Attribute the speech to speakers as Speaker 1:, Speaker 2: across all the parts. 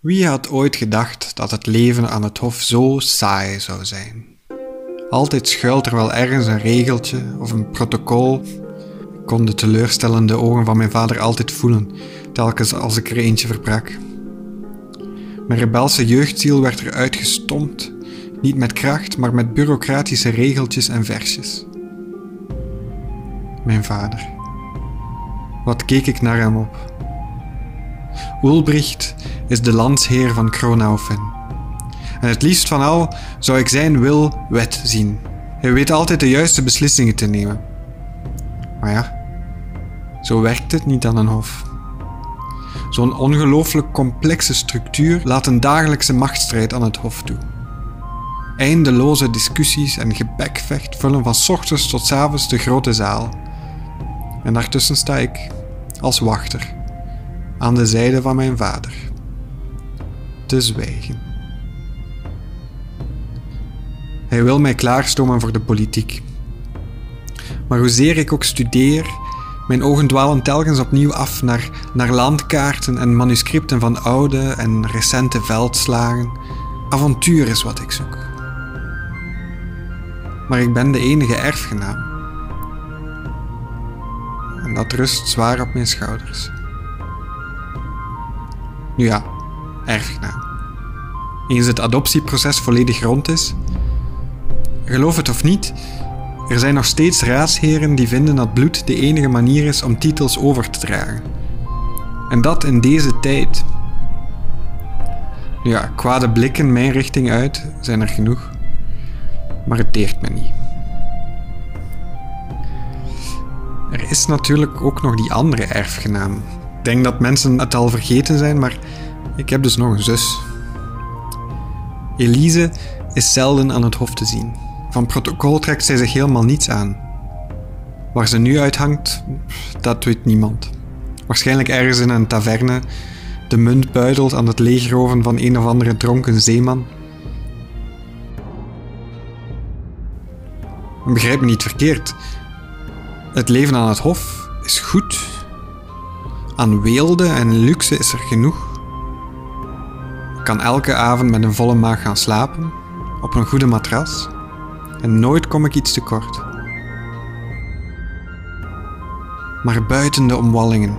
Speaker 1: Wie had ooit gedacht dat het leven aan het hof zo saai zou zijn? Altijd schuilt er wel ergens een regeltje of een protocol. Ik kon de teleurstellende ogen van mijn vader altijd voelen, telkens als ik er eentje verbrak. Mijn rebelse jeugdziel werd eruit gestompt, niet met kracht, maar met bureaucratische regeltjes en versjes. Mijn vader. Wat keek ik naar hem op? Ulbricht is de landsheer van Kronaufen. En het liefst van al zou ik zijn wil wet zien. Hij weet altijd de juiste beslissingen te nemen. Maar ja, zo werkt het niet aan een hof. Zo'n ongelooflijk complexe structuur laat een dagelijkse machtsstrijd aan het hof toe. Eindeloze discussies en gebekvecht vullen van 's ochtends tot 's avonds de grote zaal. En daartussen sta ik, als wachter, aan de zijde van mijn vader, te zwijgen. Hij wil mij klaarstomen voor de politiek. Maar hoezeer ik ook studeer, mijn ogen dwalen telkens opnieuw af naar, naar landkaarten en manuscripten van oude en recente veldslagen. Avontuur is wat ik zoek. Maar ik ben de enige erfgenaam. En dat rust zwaar op mijn schouders. Nu ja, erfgenaam. Eens het adoptieproces volledig rond is, Geloof het of niet, er zijn nog steeds raadsheren die vinden dat bloed de enige manier is om titels over te dragen. En dat in deze tijd. Nu Ja, kwade blikken mijn richting uit zijn er genoeg, maar het deert me niet. Er is natuurlijk ook nog die andere erfgenaam. Ik denk dat mensen het al vergeten zijn, maar ik heb dus nog een zus. Elise is zelden aan het hof te zien. Van protocol trekt zij zich helemaal niets aan. Waar ze nu uithangt, dat weet niemand. Waarschijnlijk ergens in een taverne, de munt buidelt aan het leegroven van een of andere dronken zeeman. Begrijp me niet verkeerd. Het leven aan het hof is goed. Aan weelde en luxe is er genoeg. Ik kan elke avond met een volle maag gaan slapen, op een goede matras, en nooit kom ik iets tekort. Maar buiten de omwallingen,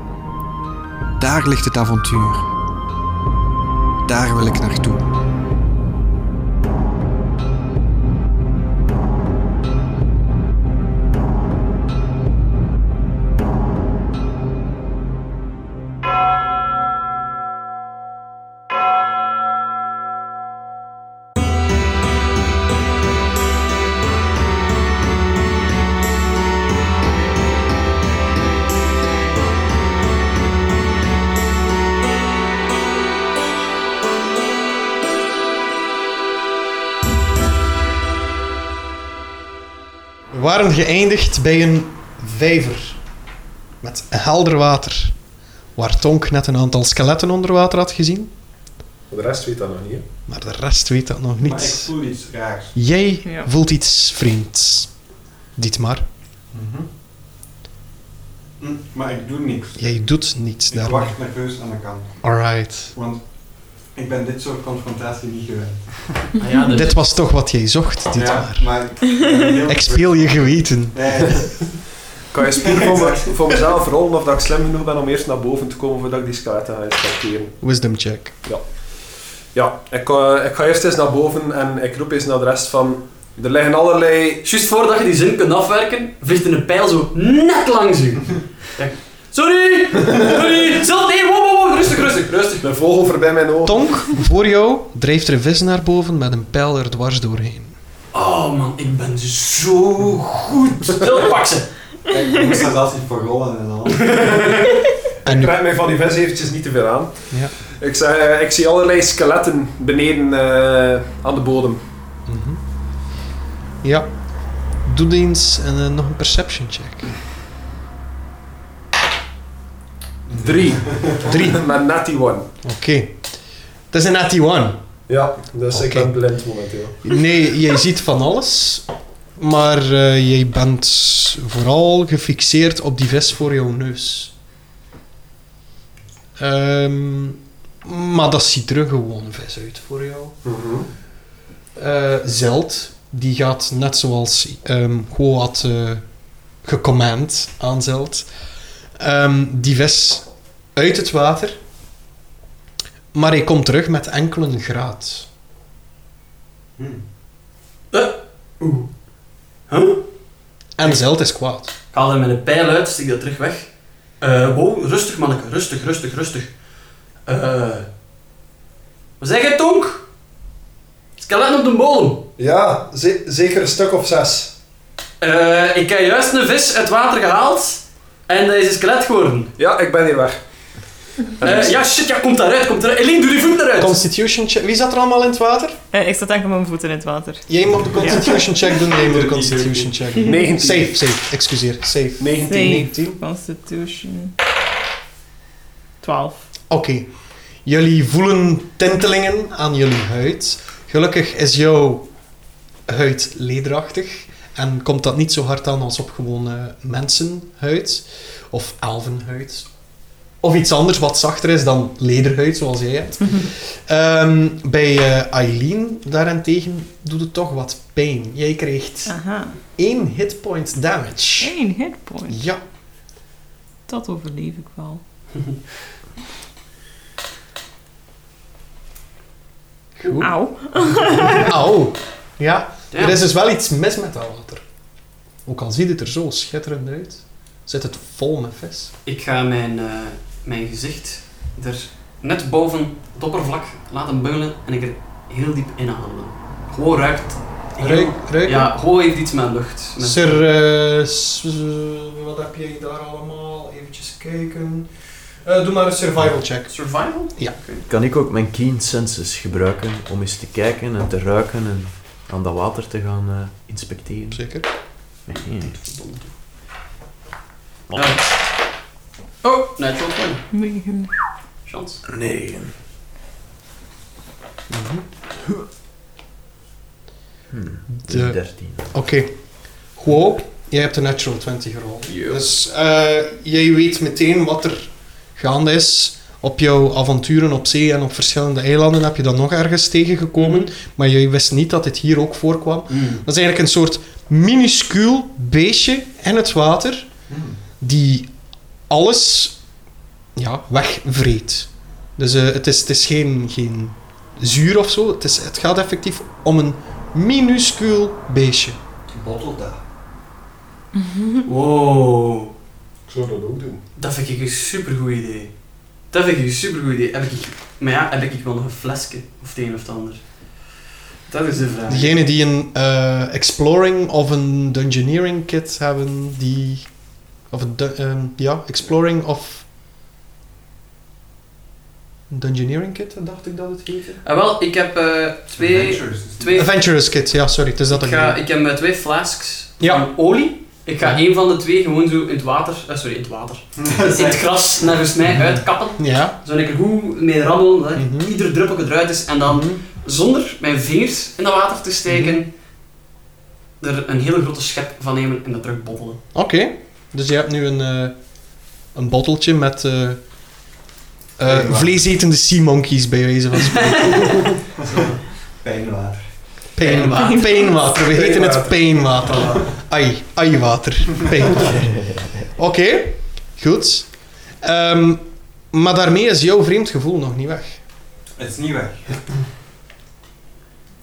Speaker 1: daar ligt het avontuur. Daar wil ik naartoe.
Speaker 2: We waren geëindigd bij een vijver met helder water, waar Tonk net een aantal skeletten onder water had gezien,
Speaker 3: Maar de rest weet dat nog niet. Hè?
Speaker 2: maar de rest weet dat nog niet.
Speaker 1: iets raars.
Speaker 2: Jij
Speaker 4: Ja.
Speaker 2: voelt iets vreemds. Dietmar,
Speaker 4: Hm,
Speaker 1: Maar ik doe niks.
Speaker 2: jij doet niets daarmee.
Speaker 1: nerveus aan de kant.
Speaker 2: Alright.
Speaker 1: Want ik ben dit soort confrontatie niet gewend.
Speaker 5: Ah ja, dus-
Speaker 2: Dit was toch wat jij zocht, Dietmar.
Speaker 1: maar
Speaker 2: Ik speel je geweten.
Speaker 3: Kan je spoed voor, me- voor mezelf rollen of dat ik slim genoeg ben om eerst naar boven te komen voordat ik die skeletten ga inspecteren?
Speaker 2: Wisdom check.
Speaker 3: Ja, ik, eh, ik ga eerst eens naar boven en ik roep eens naar de rest van... Er liggen allerlei...
Speaker 5: Juist voordat je die zin kunt afwerken, vliegt een pijl zo net langs u. Ja. Sorry! Sorry! Zelf, nee, wow, wow, wow, rustig, rustig, rustig.
Speaker 3: Een vogel voorbij mijn ogen.
Speaker 2: Tonk, voor jou drijft er een vis naar boven met een pijl er dwars doorheen.
Speaker 5: Oh man, ik ben zo goed. Stil, pak ze.
Speaker 1: Ik moest dat altijd voor rollen en al.
Speaker 2: En
Speaker 3: Ik
Speaker 2: nu,
Speaker 3: trek mij van die vis eventjes niet te veel aan.
Speaker 2: Ja.
Speaker 3: Ik, zeg, eh, ik zie allerlei skeletten beneden eh, aan de bodem.
Speaker 2: Mhm. ja, doe eens een, eh, nog een perception check.
Speaker 3: Drie.
Speaker 2: Drie.
Speaker 3: Met net die one.
Speaker 2: Oké. Het is een natty one.
Speaker 3: Ja, dus ik
Speaker 2: Oké.
Speaker 3: ben blind momenteel.
Speaker 2: Nee, jij ziet van alles. Maar eh, jij bent vooral gefixeerd op die vis voor jouw neus. Ehm, Maar dat ziet er een gewone vis uit voor jou.
Speaker 3: Mhm.
Speaker 2: Eh, Zeld, die gaat net zoals ehm Go had eh, gecommand aan Zeld, ehm, die vis uit het water. Maar hij komt terug met enkele graad.
Speaker 5: Oeh. Huh?
Speaker 2: En Zeld is kwaad.
Speaker 5: Ik haal hem met een pijl uit, steek dat terug weg. Eh, wow, rustig manneke, rustig, rustig, rustig. Eh. wat zeg je, Tonk? Skeleton op de bodem.
Speaker 4: Ja, ze- zeker een stuk of zes.
Speaker 5: Eh, ik heb juist een vis uit water gehaald en dat is een skelet geworden.
Speaker 3: Ja, ik ben hier weg.
Speaker 5: Eh, ja, shit, ja, komt daaruit, komt eruit. Eline, doe die voet eruit.
Speaker 2: Constitution check. Wie zat er allemaal in het water?
Speaker 6: Eh, ik zat enkel met mijn voeten in het water.
Speaker 2: Jij moet de constitution check doen, jij moet de constitution check doen.
Speaker 3: 19.
Speaker 2: Safe, safe. Excuseer, safe.
Speaker 3: 19.
Speaker 6: Nee.
Speaker 2: 19.
Speaker 6: Constitution. 12.
Speaker 2: Oké. Jullie voelen tintelingen aan jullie huid. Gelukkig is jouw huid lederachtig. En komt dat niet zo hard aan als op gewone mensenhuid. Of elvenhuid. Of iets anders wat zachter is dan lederhuid, zoals jij hebt. Ehm, bij eh, Eileen daarentegen doet het toch wat pijn. Jij krijgt
Speaker 6: Aha.
Speaker 2: één hitpoint damage.
Speaker 6: Eén hitpoint.
Speaker 2: Ja.
Speaker 6: Dat overleef ik wel.
Speaker 2: Goed.
Speaker 6: Auw.
Speaker 2: Auw. Ja.
Speaker 5: Ja.
Speaker 2: Er is dus wel iets mis met dat water. Ook al ziet het er zo schitterend uit, zit het vol met vis.
Speaker 5: Ik ga mijn, eh, mijn gezicht er net boven het oppervlak laten bungelen en ik er heel diep inademen. Gewoon ruikt... heel-
Speaker 2: Ruik, ruik.
Speaker 5: Ja, gewoon heeft iets met lucht. Met-
Speaker 2: Sir, eh, s- s- wat heb jij daar allemaal? Even kijken. Eh, doe maar een survival check.
Speaker 5: Survival?
Speaker 7: Kan ik ook mijn keen senses gebruiken om eens te kijken en te ruiken en aan dat water te gaan eh, inspecteren?
Speaker 2: Zeker.
Speaker 7: Nee.
Speaker 5: Ja. Oh, net zo fijn.
Speaker 6: Negen.
Speaker 5: Chance.
Speaker 7: Nee.
Speaker 2: De-
Speaker 7: 13.
Speaker 2: Oké. Gewoon, jij hebt de natural 20 gerold.
Speaker 5: Ja.
Speaker 2: Dus eh, jij weet meteen wat er gaande is. Op jouw avonturen op zee en op verschillende eilanden heb je dat nog ergens tegengekomen.
Speaker 5: Mhm.
Speaker 2: Maar jij wist niet dat dit hier ook voorkwam. Dat is eigenlijk een soort minuscuul beestje in het water die alles ja, wegvreet. Dus eh, het is, het is geen, geen zuur of zo. Het, is, het gaat effectief om een minuscuul beestje.
Speaker 4: Bottle dat.
Speaker 5: Wow.
Speaker 4: Ik zou dat ook doen.
Speaker 5: Dat vind ik een supergoed idee. Dat vind ik een supergoed idee. Heb ik, maar ja, heb ik wel nog een flesje? Of het een of het ander? Dat is de vraag.
Speaker 2: Degenen die een eh, exploring of een dungeoneering kit hebben, die... Of een dun- ehm, ja, exploring of... Een dungeoneering kit, dacht ik dat het heette.
Speaker 5: Ah, wel, ik heb eh, twee... twee
Speaker 2: Adventurous kit, ja, sorry. Het is dat
Speaker 5: ik,
Speaker 2: ook
Speaker 5: ga, ik heb eh, twee flasks
Speaker 2: Ja.
Speaker 5: van olie. Ik ga één van de twee gewoon zo in het water... eh, sorry, in het water. in het gras, volgens mij, uitkappen.
Speaker 2: Ja.
Speaker 5: Zodat ik er goed mee rammel, dat
Speaker 2: Mhm.
Speaker 5: ieder druppeltje eruit is. En dan, zonder mijn vingers in dat water te steken, er een hele grote schep van nemen en dat terug bobbelen.
Speaker 2: Oké, dus je hebt nu een, eh een botteltje met eh eh,
Speaker 4: Pijnwater.
Speaker 2: vleesetende sea monkeys bij wijze van spreken.
Speaker 4: Pijnwater.
Speaker 2: Pijnwater. Pijnwater, we heten het pijnwater. Ai, ai water. Pijn. Oké, goed. Ehm, maar daarmee is jouw vreemd gevoel nog niet weg.
Speaker 4: Het is niet weg.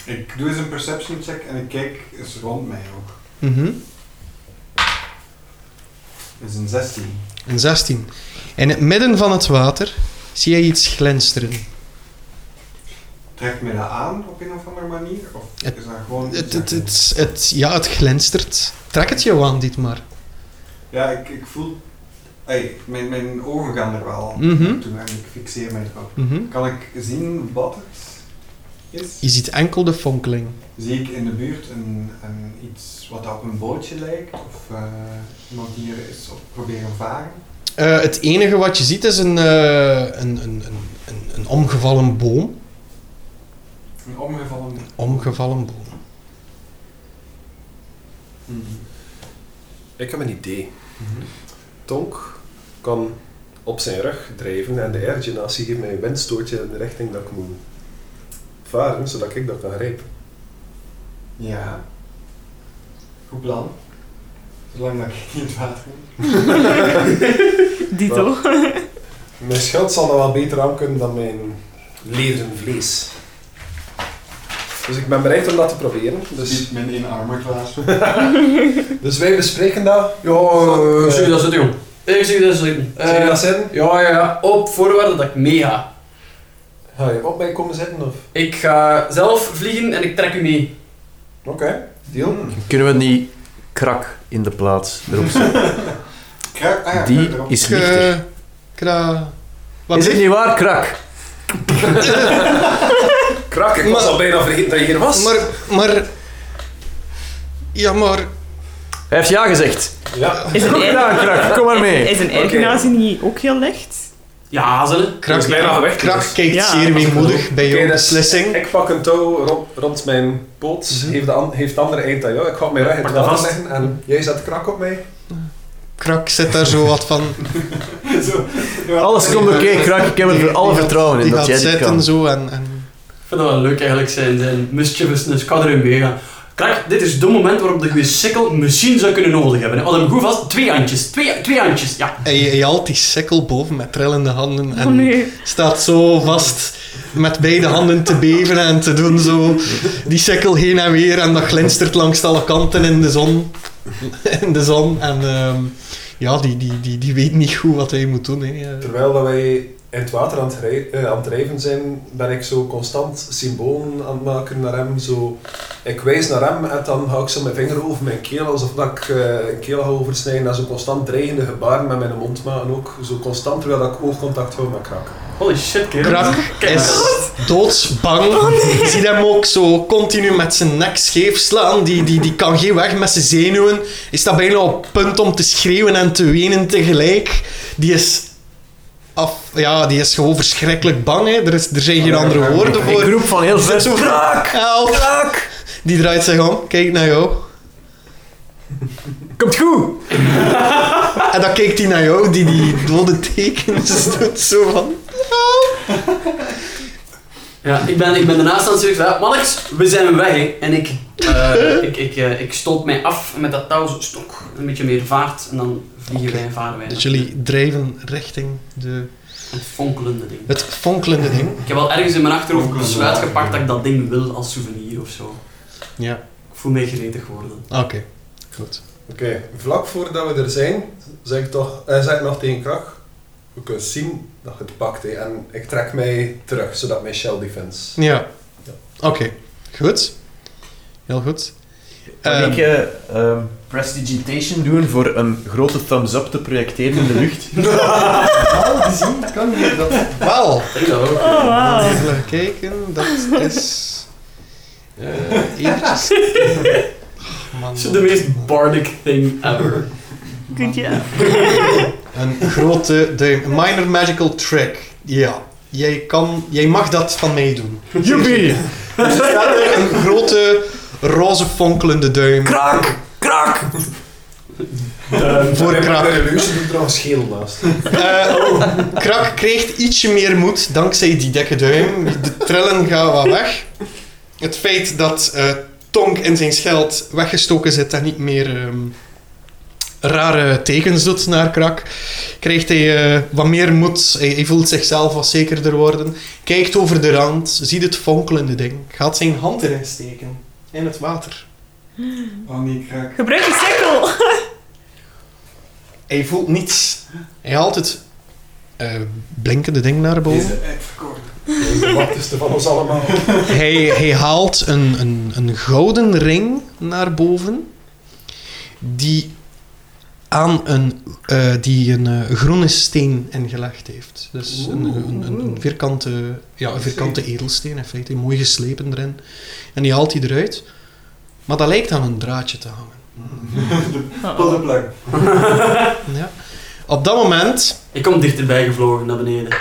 Speaker 4: Ik doe eens een perception check en ik kijk eens rond mij ook.
Speaker 2: Mhm.
Speaker 4: Het is een 16.
Speaker 2: Een 16. In het midden van het water zie je iets glinsteren.
Speaker 4: Trekt mij dat aan op een of andere manier? Of
Speaker 2: Het-
Speaker 4: is dat gewoon...
Speaker 2: Het, het, het, het- ja, het glinstert. Trek het jou aan, dit maar.
Speaker 4: Ja, ik, ik voel... Ey, mijn, mijn ogen gaan er wel
Speaker 2: Mhm.
Speaker 4: naartoe en ik fixeer mij erop.
Speaker 2: Mhm.
Speaker 4: Kan ik zien wat het
Speaker 2: Je
Speaker 4: is?
Speaker 2: ziet enkel de fonkeling.
Speaker 4: Zie ik in de buurt een, een, iets wat op een bootje lijkt? Of eh, iemand die er is op proberen varen?
Speaker 2: Eh, het enige wat je ziet is een, eh, een, een, een, een, een omgevallen boom.
Speaker 4: Een omgevallen...
Speaker 2: Omgevallen boom.
Speaker 4: Mhm.
Speaker 3: Ik heb een idee. Tonk kan op zijn rug drijven en de airgenatie geeft mij een windstootje in de richting dat ik moet varen, zodat ik dat kan grijpen.
Speaker 4: Ja. Goed plan. Zolang dat ik niet in het water moet.
Speaker 6: Dito.
Speaker 3: Mijn schild zal dat wel beter aan kunnen dan mijn leren vlees. Dus ik ben bereid om dat te proberen. Dus,
Speaker 4: Niet mijn in armor class.
Speaker 3: dus wij bespreken dat. Ja,
Speaker 5: Oh,
Speaker 3: eh,
Speaker 5: ik zie dat zitten, jong. Ik zie dat zitten.
Speaker 3: zie je
Speaker 5: Eh,
Speaker 3: dat zitten?
Speaker 5: ja, ja, ja. Op voorwaarde dat ik mee ga.
Speaker 3: Ga je op mij komen zitten of?
Speaker 5: Ik ga zelf vliegen en ik trek u mee.
Speaker 3: Oké, deal.
Speaker 7: Kunnen we niet krak in de plaats erop zetten?
Speaker 4: Kruip, ah ja,
Speaker 7: Die
Speaker 4: kruip erop.
Speaker 7: is lichter.
Speaker 2: Kra. kra- eh, Wat
Speaker 7: Is het
Speaker 2: zeg-
Speaker 7: niet waar, krak?
Speaker 3: Krak, ik was
Speaker 2: Maar-
Speaker 3: al bijna vergeten dat je hier was.
Speaker 2: Maar, maar... Ja, maar...
Speaker 7: Hij heeft ja gezegd.
Speaker 3: Ja,
Speaker 6: Is een
Speaker 7: Goed
Speaker 6: air-
Speaker 7: gedaan, krak. Kom maar mee.
Speaker 6: Is een airgenatie niet ook heel licht?
Speaker 5: Ja, zullen.
Speaker 3: dat is bijna gewicht.
Speaker 2: Krak kijkt
Speaker 6: Ja.
Speaker 2: zeer weemoedig bij
Speaker 3: Oké,
Speaker 2: jouw
Speaker 3: dat is-
Speaker 2: beslissing.
Speaker 3: Ik pak een touw rond, rond mijn poot, heeft, de an- heeft de andere eind aan jou. Ik ga op mijn rug in het
Speaker 5: Mhm. Pak dat
Speaker 3: water
Speaker 5: vast. Mhm.
Speaker 3: leggen en jij zet krak op mij.
Speaker 2: Krak zit daar zo wat van...
Speaker 7: Alles komt oké, krak. Ik heb er voor alle vertrouwen in
Speaker 2: Die
Speaker 7: dat
Speaker 2: gaat
Speaker 7: jij dit kan.
Speaker 2: zitten zo en... en
Speaker 5: Ik vind dat wel leuk eigenlijk, zijn, zijn mischievousness. Ik ga erin meegaan. Krak, dit is het moment waarop de goede sikkel misschien zou kunnen nodig hebben. hè. Had hem goed vast. Twee handjes. Twee, twee handjes, ja.
Speaker 2: hij, hij haalt die sekkel boven met trillende handen en
Speaker 6: Oh nee.
Speaker 2: staat zo vast met beide handen te beven en te doen zo. Die sekkel heen en weer en dat glinstert langs alle kanten in de zon. In de zon en ehm, ja, die, die, die, die weet niet goed wat hij moet doen. Hè.
Speaker 3: Terwijl dat wij in het water aan het, rij- eh, aan het drijven zijn, ben ik zo constant symbolen aan het maken naar hem. Zo, ik wijs naar hem en dan hou ik zo mijn vinger over mijn keel, alsof dat ik eh, een keel ga oversnijden. En zo constant dreigende gebaren met mijn mond maken ook. Zo constant, terwijl dat ik oogcontact hou met krak.
Speaker 5: Holy shit, kerel.
Speaker 2: Krak
Speaker 5: Kijk,
Speaker 2: is doodsbang. Ziet hem ook zo continu met zijn nek scheef slaan. Die, die, die kan geen weg met zijn zenuwen. Hij staat bijna op punt om te schreeuwen en te wenen tegelijk. Die is... Af, ja, die is gewoon verschrikkelijk bang. Hè. Er, is, er zijn geen andere woorden
Speaker 7: Oh, Ik
Speaker 2: voor.
Speaker 7: roep van heel ver.
Speaker 2: zo-
Speaker 7: Krak!
Speaker 2: Help!
Speaker 7: Krak!
Speaker 2: Die draait zich om. Kijk naar jou.
Speaker 7: Komt goed!
Speaker 2: En dan kijkt hij naar jou, die die dode tekens doet. Zo van...
Speaker 5: Ja, ik ben, ik ben daarnaast aan het zeggen, ja, mannetjes, we zijn weg, hè. En ik, eh, ik, ik, eh, ik stoot mij af en met dat touw zo stok, een beetje meer vaart. En dan vliegen wij en varen wij.
Speaker 2: Dus jullie drijven richting de,
Speaker 5: Het fonkelende ding.
Speaker 2: het fonkelende ding.
Speaker 5: Ik heb al ergens in mijn achterhoofd het besluit gepakt dat ik dat ding wil als souvenir of zo.
Speaker 2: Ja.
Speaker 5: Ik voel mij gretig worden.
Speaker 2: Oké, goed.
Speaker 3: Oké, vlak voordat we er zijn, zeg ik, toch, eh, zeg ik nog tegen krak. We kunnen zien dat je het pakt. hè. En ik trek mij terug, zodat mijn shell defense...
Speaker 2: Ja.
Speaker 3: Ja.
Speaker 2: Oké, goed. Heel goed.
Speaker 7: Kan
Speaker 2: Ehm,
Speaker 7: ik eh, ehm, prestidigitation doen voor een grote thumbs up te projecteren in de lucht?
Speaker 4: Al gezien, het kan niet. Dat...
Speaker 2: Wel,
Speaker 5: Ik dat ook.
Speaker 6: Oh, wauw.
Speaker 2: even kijken. Dat is... eh eventjes... Man,
Speaker 5: Het is de meest bardic thing ever.
Speaker 6: Goed ja.
Speaker 2: Een grote duim. Minor magical trick. Ja. Jij, kan, jij mag dat van mij doen.
Speaker 7: Joepie!
Speaker 2: Dus er staat er een grote roze fonkelende duim.
Speaker 7: Krak! Krak!
Speaker 2: Voor krak.
Speaker 3: Mijn leuze doet trouwens scheel naast.
Speaker 2: Eh, Krak kreeg ietsje meer moed dankzij die dikke duim. De trillen gaan wat weg. Het feit dat eh, Tonk in zijn scheld weggestoken zit en niet meer ehm, rare tekens doet naar Krak, krijgt hij eh, wat meer moed. Hij, hij voelt zichzelf wat zekerder worden. Kijkt over de rand, ziet het fonkelende ding, gaat zijn hand erin steken. In het water.
Speaker 4: Oh nee, krak.
Speaker 6: Gebruik je sikkel.
Speaker 2: Hij voelt niets. Hij haalt het eh, blinkende ding naar boven.
Speaker 4: Deze app verkocht.
Speaker 3: De machtigste van ons allemaal.
Speaker 2: Hij, hij haalt een, een, een gouden ring naar boven, die aan een, eh, die een eh, groene steen ingelegd heeft. Dus een, een, een, een vierkante, ja, een vierkante edelsteen, in feite, mooi geslepen erin. En die haalt hij eruit, maar dat lijkt aan een draadje te hangen.
Speaker 4: Pottenplak.
Speaker 2: Ja. Op dat moment
Speaker 5: Ik kom dichterbij gevlogen naar beneden.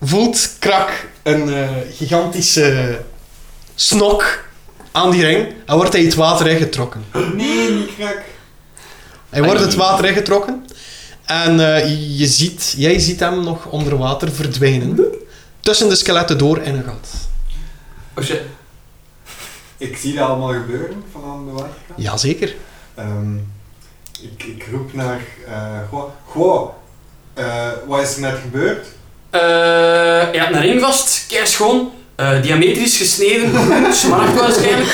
Speaker 2: voelt Krak een eh, gigantische snok aan die ring en wordt hij het water ingetrokken.
Speaker 4: Nee, niet krak.
Speaker 2: Ehm, Hij wordt het water ingetrokken En eh, je ziet, jij ziet hem nog onder water verdwijnen. Tussen de skeletten door in een gat.
Speaker 5: Oh shit.
Speaker 4: Ik zie dat allemaal gebeuren van aan de waterkant.
Speaker 2: Jazeker.
Speaker 4: Ehm, ik, ik roep naar... eh goh, goh eh, wat is er net gebeurd?
Speaker 5: Eh, je hebt een ring vast, kei schoon. eh, diametrisch gesneden, smaakt waarschijnlijk.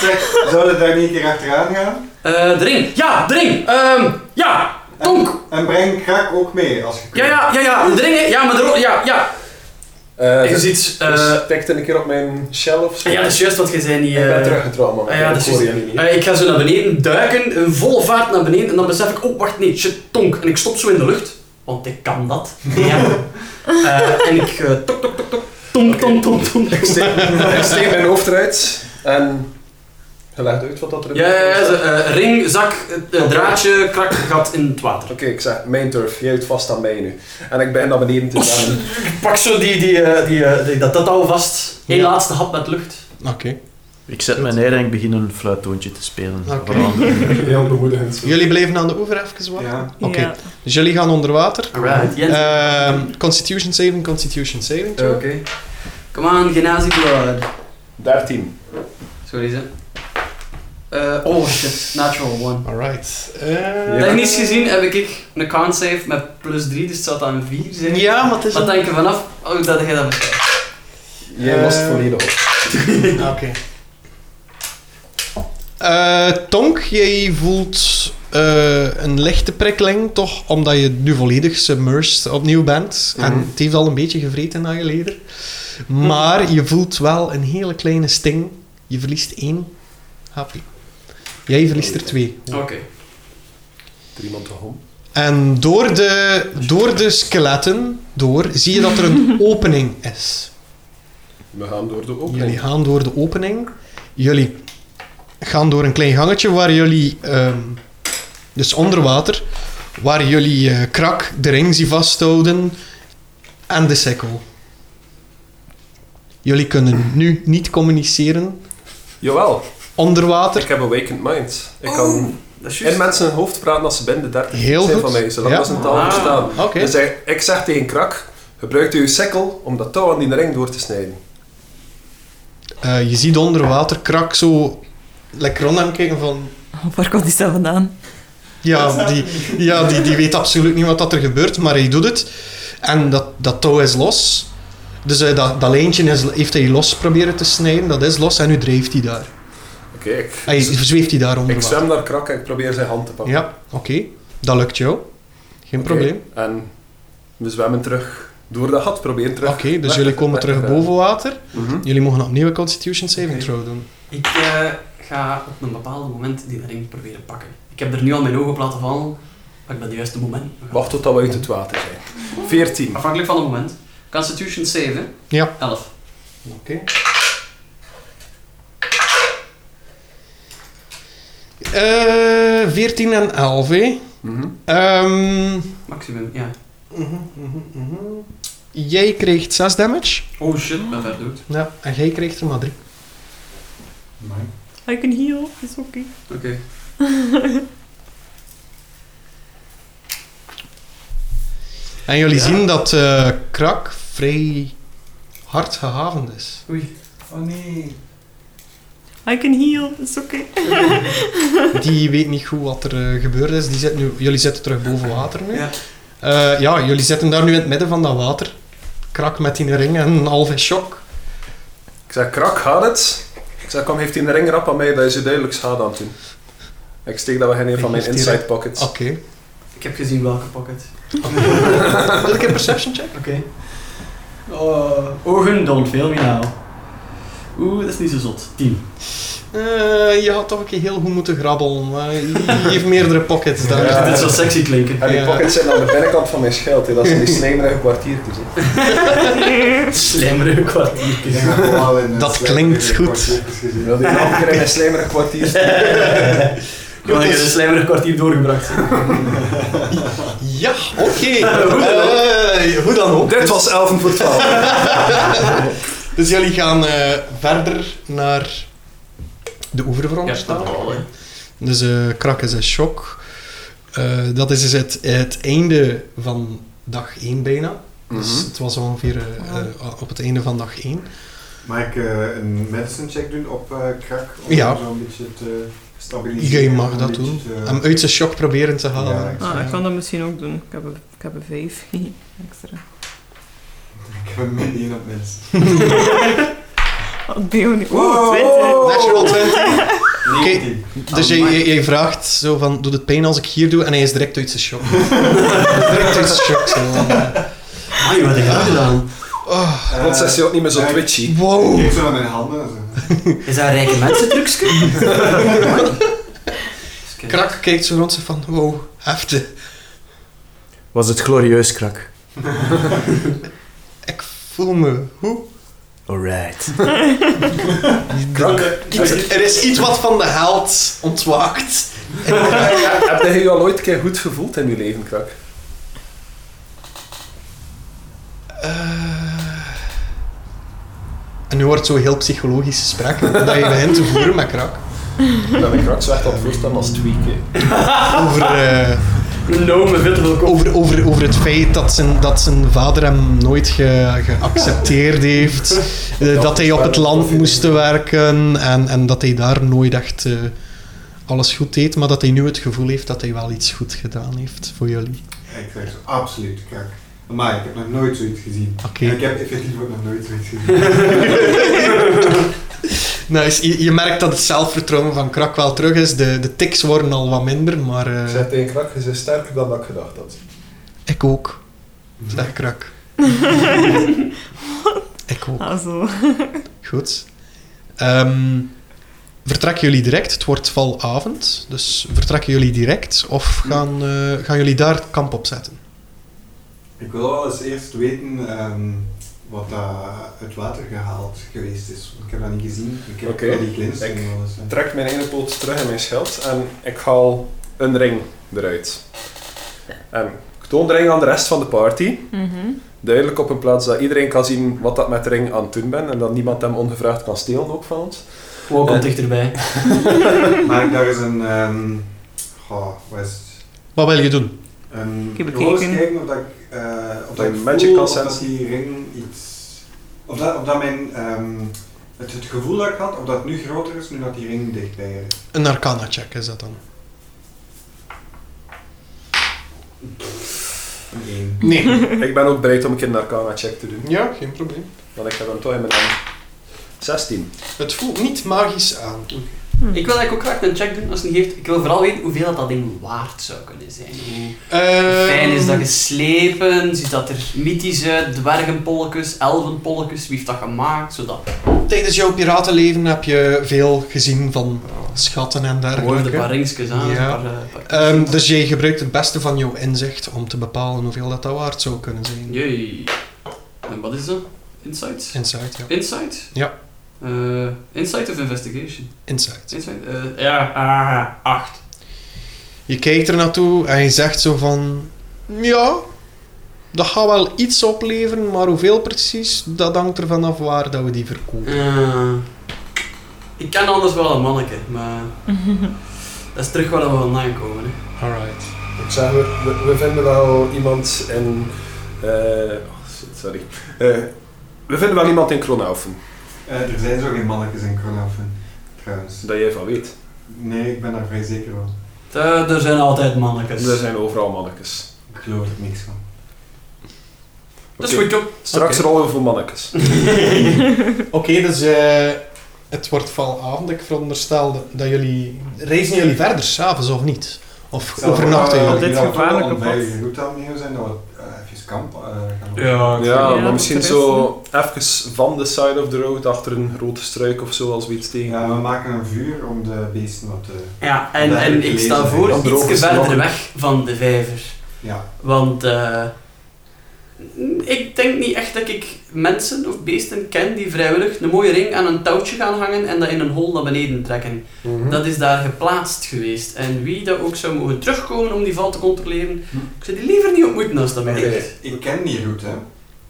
Speaker 4: Zeg, zouden we daar niet een keer achteraan gaan?
Speaker 5: Eh de ring, ja, de ring. Ehm, ja, Tonk.
Speaker 4: En breng krak ook mee als je kunt.
Speaker 5: Ja, ja, ja, ja, de ring, hè. ja, maar de ro- ja, ja.
Speaker 3: Eh,
Speaker 5: Je
Speaker 3: dus-
Speaker 5: ziet, eh,
Speaker 3: dus tikt een keer op mijn shell of zo.
Speaker 5: ja, dat is juist wat je zei, niet...
Speaker 3: Ik ben
Speaker 5: eh,
Speaker 3: teruggetrokken, man.
Speaker 5: ah, ja, dat
Speaker 3: ik
Speaker 5: is
Speaker 3: hoor
Speaker 5: juist.
Speaker 3: jullie niet.
Speaker 5: Eh, ik ga zo naar beneden duiken, een volle vaart naar beneden, en dan besef ik, oh wacht, nee, shit, tonk. En ik stop zo in de lucht, want ik kan dat. Ja. Eh, en ik, eh, tok, tok, tok, tok, tonk, tonk, tonk, tonk.
Speaker 3: Ik steek, ik steek mijn hoofd eruit en je legt uit wat dat er in
Speaker 5: Ja,
Speaker 3: de
Speaker 5: ja, ja,
Speaker 3: hoofd
Speaker 5: zo,
Speaker 3: staat.
Speaker 5: eh, ring, zak, eh, draadje, krak, gat in het water.
Speaker 3: Oké, ik zeg, mijn turf, jij houdt vast aan mij nu. En ik ben naar beneden te gaan.
Speaker 5: Ik pak zo die, die, eh, die, eh, die- dat, dat touw vast. Eén
Speaker 2: Ja.
Speaker 5: laatste hap met lucht.
Speaker 2: Oké.
Speaker 7: Ik zet mij neer en ik begin een fluittoontje te spelen.
Speaker 2: Oké.
Speaker 7: Vooral-
Speaker 3: Heel bemoedigend. zo.
Speaker 2: Jullie blijven aan de oever even wachten?
Speaker 4: Ja.
Speaker 2: Oké. Dus jullie gaan onder water.
Speaker 5: Alright, Jens.
Speaker 2: Ehm, constitution saving, constitution saving.
Speaker 3: Oké.
Speaker 2: throw.
Speaker 5: Come on, Genasi Blood.
Speaker 3: 13.
Speaker 5: Sorry, ze. Eh, oh shit, natural one.
Speaker 2: Alright. Eh,
Speaker 3: Ja.
Speaker 5: Technisch gezien heb ik een con save met plus 3, dus het zat aan 4 zijn.
Speaker 2: Ja, maar het is
Speaker 5: Wat
Speaker 2: een-
Speaker 5: denk je vanaf? Oh, dat jij dat verstaat.
Speaker 3: Jij
Speaker 2: Eh.
Speaker 3: was het volledig op.
Speaker 2: Oké. Eh, Tonk, jij voelt eh, een lichte prikkeling, toch? Omdat je nu volledig submersed opnieuw bent. En het heeft al een beetje gevreten aan je leder. Maar je voelt wel een hele kleine sting. Je verliest één HP. Jij verliest er twee.
Speaker 5: Oké.
Speaker 3: Er iemand te hom.
Speaker 2: En door de, door de skeletten door, zie je dat er een opening is.
Speaker 3: We gaan door de opening.
Speaker 2: Jullie gaan door de opening. Jullie gaan door een klein gangetje waar jullie, ehm, dus onder water, waar jullie eh, krak, de ring zien vasthouden en de sikkel. Jullie kunnen nu niet communiceren
Speaker 3: Jawel,
Speaker 2: onder water.
Speaker 3: ik heb awakened mind. Ik kan
Speaker 5: Dat is
Speaker 3: in
Speaker 5: juist.
Speaker 3: mensen hun hoofd praten als ze binnen de 30
Speaker 2: Heel
Speaker 3: zijn
Speaker 2: goed.
Speaker 3: van mij, zolang
Speaker 2: Ja.
Speaker 3: dat ze een taal
Speaker 5: Ah.
Speaker 3: verstaan.
Speaker 2: Oké.
Speaker 3: Dus ik, ik zeg tegen Krak, gebruikt u uw sikkel om dat touw aan die ring door te snijden.
Speaker 2: Eh, je ziet onder water krak zo lekker rond hem kijken van...
Speaker 6: Waar komt die stem vandaan?
Speaker 2: Ja, die, ja die, die weet absoluut niet wat dat er gebeurt, maar hij doet het. En dat, dat touw is los. Dus eh, dat, dat lijntje is, heeft hij los proberen te snijden, dat is los en nu drijft hij daar.
Speaker 3: Oké, ik,
Speaker 2: Hij zweeft hij daar onder
Speaker 3: Dus ik
Speaker 2: water.
Speaker 3: zwem naar Krak en ik probeer zijn hand te pakken.
Speaker 2: Ja, oké. Dat lukt jou. Geen
Speaker 3: Oké,
Speaker 2: probleem.
Speaker 3: En we zwemmen terug door dat gat, proberen terug.
Speaker 2: Oké, dus
Speaker 3: weg-
Speaker 2: jullie komen
Speaker 3: weg-
Speaker 2: terug
Speaker 3: weg-
Speaker 2: boven water.
Speaker 3: Mhm.
Speaker 2: Jullie mogen opnieuw een Constitution Saving
Speaker 5: Oké.
Speaker 2: Throw doen.
Speaker 5: Ik eh, ga op een bepaald moment die ring proberen pakken. Ik heb er nu al mijn ogen op laten vallen, maar ik ben het juiste moment.
Speaker 3: Wacht tot dat we uit het water zijn. 14.
Speaker 5: Afhankelijk van het moment. Constitution 7.
Speaker 2: Ja.
Speaker 5: 11.
Speaker 2: Eh 14 en 11, hè.
Speaker 3: Mhm.
Speaker 2: Ehm,
Speaker 5: Maximum, ja.
Speaker 2: jij krijgt 6 damage.
Speaker 5: Oh shit, ben ver dood.
Speaker 2: Ja, en jij krijgt er maar 3.
Speaker 4: Amai.
Speaker 6: I can heal, is oké. Okay.
Speaker 5: Oké.
Speaker 2: En jullie
Speaker 5: Ja.
Speaker 2: zien dat eh, Krak vrij hard gehavend is.
Speaker 5: Oei.
Speaker 4: Oh nee.
Speaker 6: I can heal, is oké.
Speaker 2: Die weet niet goed wat er eh, gebeurd is. Die zit nu, jullie zitten terug boven water nu.
Speaker 5: Ja.
Speaker 2: Eh, ja, jullie zitten daar nu in het midden van dat water. Krak met die ring en een halve shock.
Speaker 3: Ik zeg, Krak, gaat het? Ik zeg, kom, heeft hij een ring rap aan mij, dat is u duidelijk schade aan het doen. Ik steek dat we in een van mijn
Speaker 2: Heeft hij
Speaker 3: inside
Speaker 2: een-
Speaker 3: pockets.
Speaker 2: Oké.
Speaker 5: Ik heb gezien welke pocket.
Speaker 2: Wil ik een perception check?
Speaker 5: Oké. Oh, ogen, don't fail me now. Oeh, dat is niet zo zot. 10.
Speaker 2: Eh, je had toch een keer heel goed moeten grabbelen. maar je je heeft meerdere pockets daar.
Speaker 3: Ja.
Speaker 5: Dit zou sexy klinken.
Speaker 3: En die
Speaker 2: Ja.
Speaker 3: pockets zitten aan de binnenkant van mijn schild, hè. dat zijn die slijmerige kwartiertjes. hè.
Speaker 5: Slijmerige kwartier.
Speaker 4: Ik denk dat we allemaal in een
Speaker 2: Dat
Speaker 4: slecht
Speaker 2: klinkt
Speaker 4: weer
Speaker 2: goed.
Speaker 4: kwartiertjes gezien
Speaker 3: Dat die elke keer in mijn slijmerige kwartiertjes.
Speaker 5: Ik heb een slijmerige kwartier doorgebracht.
Speaker 2: Ja, oké. Eh, hoe dan ook.
Speaker 3: Dit was 11 voor 12.
Speaker 2: Dus jullie gaan eh, verder naar de oever
Speaker 5: Ja,
Speaker 2: veronderstel.
Speaker 5: staat al. hè.
Speaker 2: Dus eh Krak is in shock. Eh, dat is dus het, het einde van dag 1 bijna. Dus
Speaker 3: Mhm.
Speaker 2: het was ongeveer
Speaker 6: Oh.
Speaker 2: eh, eh, op het einde van dag 1.
Speaker 4: Mag ik eh, een medicine check doen op eh krak? Om
Speaker 2: Ja.
Speaker 4: zo'n beetje te stabiliseren.
Speaker 2: Jij mag
Speaker 4: Een
Speaker 2: dat
Speaker 4: beetje
Speaker 2: doen.
Speaker 4: te-
Speaker 2: Hem uit zijn shock proberen te halen.
Speaker 4: Ja,
Speaker 6: Ah, ik kan dat misschien ook doen. Ik heb een, ik heb een vijf extra.
Speaker 4: Ik heb een median op mensen.
Speaker 6: Wat Bion. Oeh, twintig.
Speaker 2: Natural 20. Oké,
Speaker 4: 19.
Speaker 2: Oh. dus jij, jij- jij vraagt zo van, doet het pijn als ik hier doe? En hij is direct uit zijn shock. direct uit zijn shock. Zo. eh,
Speaker 5: Amai, wat heb je dat gedaan?
Speaker 2: Oh,
Speaker 4: Eh,
Speaker 3: Want zij is ook niet meer zo
Speaker 4: eh,
Speaker 3: twitchy.
Speaker 4: Ik
Speaker 2: wow.
Speaker 4: kijk zo naar mijn handen. Zo.
Speaker 5: Is dat een rijke mensen trucje?
Speaker 2: Krak kijkt zo rond zo van, wow, heftig.
Speaker 7: Was het glorieus, krak?
Speaker 2: Ik voel me hoe?
Speaker 7: Alright.
Speaker 3: Krak.
Speaker 2: Iets- er is iets wat van de held ontwaakt.
Speaker 3: Heb jij je al ooit keer goed gevoeld in je leven, Krak?
Speaker 2: Eh, en nu wordt zo heel psychologisch gesprek dat je begint te voeren met krak.
Speaker 3: Ik ben mijn Krak zo echt aan het voorstellen als tweaken.
Speaker 2: Over, eh,
Speaker 5: Een lome witte wil komen.
Speaker 2: over, over, over het feit dat zijn, dat zijn vader hem nooit ge- geaccepteerd heeft. Eh, dat hij op het land moest werken en, en dat hij daar nooit echt eh, alles goed deed. Maar dat hij nu het gevoel heeft dat hij wel iets goed gedaan heeft voor jullie.
Speaker 4: Ik zeg zo, absoluut krak. Maar ik heb nog nooit zoiets gezien.
Speaker 2: Oké.
Speaker 4: En ik heb effectief ook nog nooit zoiets gezien.
Speaker 2: Nice. Nou, Je, je merkt dat het zelfvertrouwen van Krak wel terug is. De, de tics worden al wat minder, maar eh,
Speaker 3: Ik zei tegen Krak, je bent sterker dan dat ik gedacht had.
Speaker 2: ik ook. Zeg Krak. ik ook.
Speaker 6: Ah, zo.
Speaker 2: Goed. Ehm vertrekken jullie direct? Het wordt valavond, dus vertrekken jullie direct of gaan, eh, gaan jullie daar het kamp opzetten?
Speaker 4: Ik wil wel eens eerst weten ehm, wat daar uit water gehaald geweest is. Want Ik heb dat niet gezien. Ik heb
Speaker 3: Oké.
Speaker 4: al die glinstering
Speaker 3: Ik-
Speaker 4: wel eens. hè.
Speaker 3: Ik trek mijn ene poot terug in mijn schild en ik haal een ring eruit. En ik toon de ring aan de rest van de party.
Speaker 6: Mhm.
Speaker 3: Duidelijk op een plaats dat iedereen kan zien wat dat met de ring aan het doen ben en dat niemand hem ongevraagd kan stelen ook van ons.
Speaker 5: Wow, komt dichterbij.
Speaker 4: Maar ik daar is een... ehm goh, wat is het?
Speaker 2: Wat wil je doen?
Speaker 4: Een
Speaker 6: Ik heb
Speaker 4: rol eens
Speaker 6: bekeken.
Speaker 4: kijken of dat ik, eh, of dat
Speaker 3: Een
Speaker 4: ik
Speaker 3: magic
Speaker 4: voel of
Speaker 3: consent.
Speaker 4: dat die ring iets... Of dat, of dat mijn... ehm, het, het gevoel dat ik had, of dat nu groter is, nu dat die ring dichtbij is.
Speaker 2: Een arcana check is dat dan?
Speaker 4: Een één.
Speaker 2: Nee.
Speaker 3: Ik ben ook bereid om een keer een arcana check te doen,
Speaker 2: ja, geen probleem.
Speaker 3: want ik heb hem toch in mijn hand. 16.
Speaker 2: Het voelt niet magisch aan.
Speaker 5: Ik wil eigenlijk ook graag een check doen als het niet heeft. Ik wil vooral weten hoeveel dat, dat ding waard zou kunnen zijn. Hoe
Speaker 2: Ehm.
Speaker 5: fijn is dat geslepen? Ziet dat er mythisch uit? Dwergenpolkes, elvenpolkes? Wie heeft dat gemaakt? Zodat
Speaker 2: Tijdens jouw piratenleven heb je veel gezien van schatten en
Speaker 5: horen een
Speaker 2: dergelijke.
Speaker 5: paar ringsjes aan.
Speaker 2: Ja.
Speaker 5: Een paar, eh, paar-
Speaker 2: Ehm, dus jij gebruikt het beste van jouw inzicht om te bepalen hoeveel dat, dat waard zou kunnen zijn.
Speaker 5: Jee. En wat is dat? Insights?
Speaker 2: Insight, ja.
Speaker 5: Insight?
Speaker 2: Ja.
Speaker 5: Eh, insight of investigation?
Speaker 2: Insight.
Speaker 5: Insight? eh, ja, ah, acht.
Speaker 2: Je kijkt er naartoe en je zegt zo van... Ja, dat gaat wel iets opleveren, maar hoeveel precies, dat hangt er vanaf waar dat we die verkopen.
Speaker 5: Eh, ik ken anders wel een manneke, maar dat is terug waar we vandaan komen. Hè.
Speaker 2: Alright.
Speaker 3: Ik zeg, we, we- we vinden wel iemand in... eh, oh, sorry. Eh, we vinden wel iemand in Kronaufen,
Speaker 4: Eh, er zijn zo geen mannetjes in Kronaffen, trouwens.
Speaker 3: dat jij van weet.
Speaker 4: Nee, ik ben daar vrij zeker van.
Speaker 5: Daar- Eh, er zijn altijd mannekes.
Speaker 3: Er zijn overal mannetjes.
Speaker 4: Ik geloof er niks van.
Speaker 5: Dat is
Speaker 3: Oké,
Speaker 5: goed, joh.
Speaker 3: Straks
Speaker 2: Oké.
Speaker 3: rollen we voor mannetjes.
Speaker 2: Oké, dus eh, het wordt valavond. Ik veronderstel dat jullie... Reizen jullie verder s'avonds of niet? Of overnachten
Speaker 4: Zou, eh,
Speaker 2: jullie?
Speaker 6: dit
Speaker 4: die dat
Speaker 6: gevaarlijke
Speaker 4: wel
Speaker 6: pad?
Speaker 4: onveilige route aan het nemen zijn, dat we eh, even kamp eh, gaan doen.
Speaker 5: Ja, ik
Speaker 3: Ja,
Speaker 5: vind-
Speaker 3: maar
Speaker 6: dat
Speaker 3: misschien
Speaker 6: is
Speaker 3: zo even van de side of the road achter een grote struik of zo als we iets tegen.
Speaker 4: Ja, we maken een vuur om de beesten wat te...
Speaker 5: ja en,
Speaker 4: Dat heb
Speaker 5: en
Speaker 4: ik
Speaker 5: ik
Speaker 4: gelezen,
Speaker 5: sta
Speaker 4: hè.
Speaker 5: voor
Speaker 3: Dan droog
Speaker 5: ietsje
Speaker 3: is het
Speaker 5: verder
Speaker 3: wel.
Speaker 5: weg van de vijver.
Speaker 4: Ja.
Speaker 5: Want eh, ik denk niet echt dat ik mensen of beesten ken die vrijwillig een mooie ring aan een touwtje gaan hangen en dat in een hol naar beneden trekken. Dat is daar geplaatst geweest. En wie dat ook zou mogen terugkomen om die val te controleren,
Speaker 4: Hm.
Speaker 5: ik zou die liever niet ontmoeten als dat mij
Speaker 4: Oké,
Speaker 5: ligt.
Speaker 4: Ik ken die route,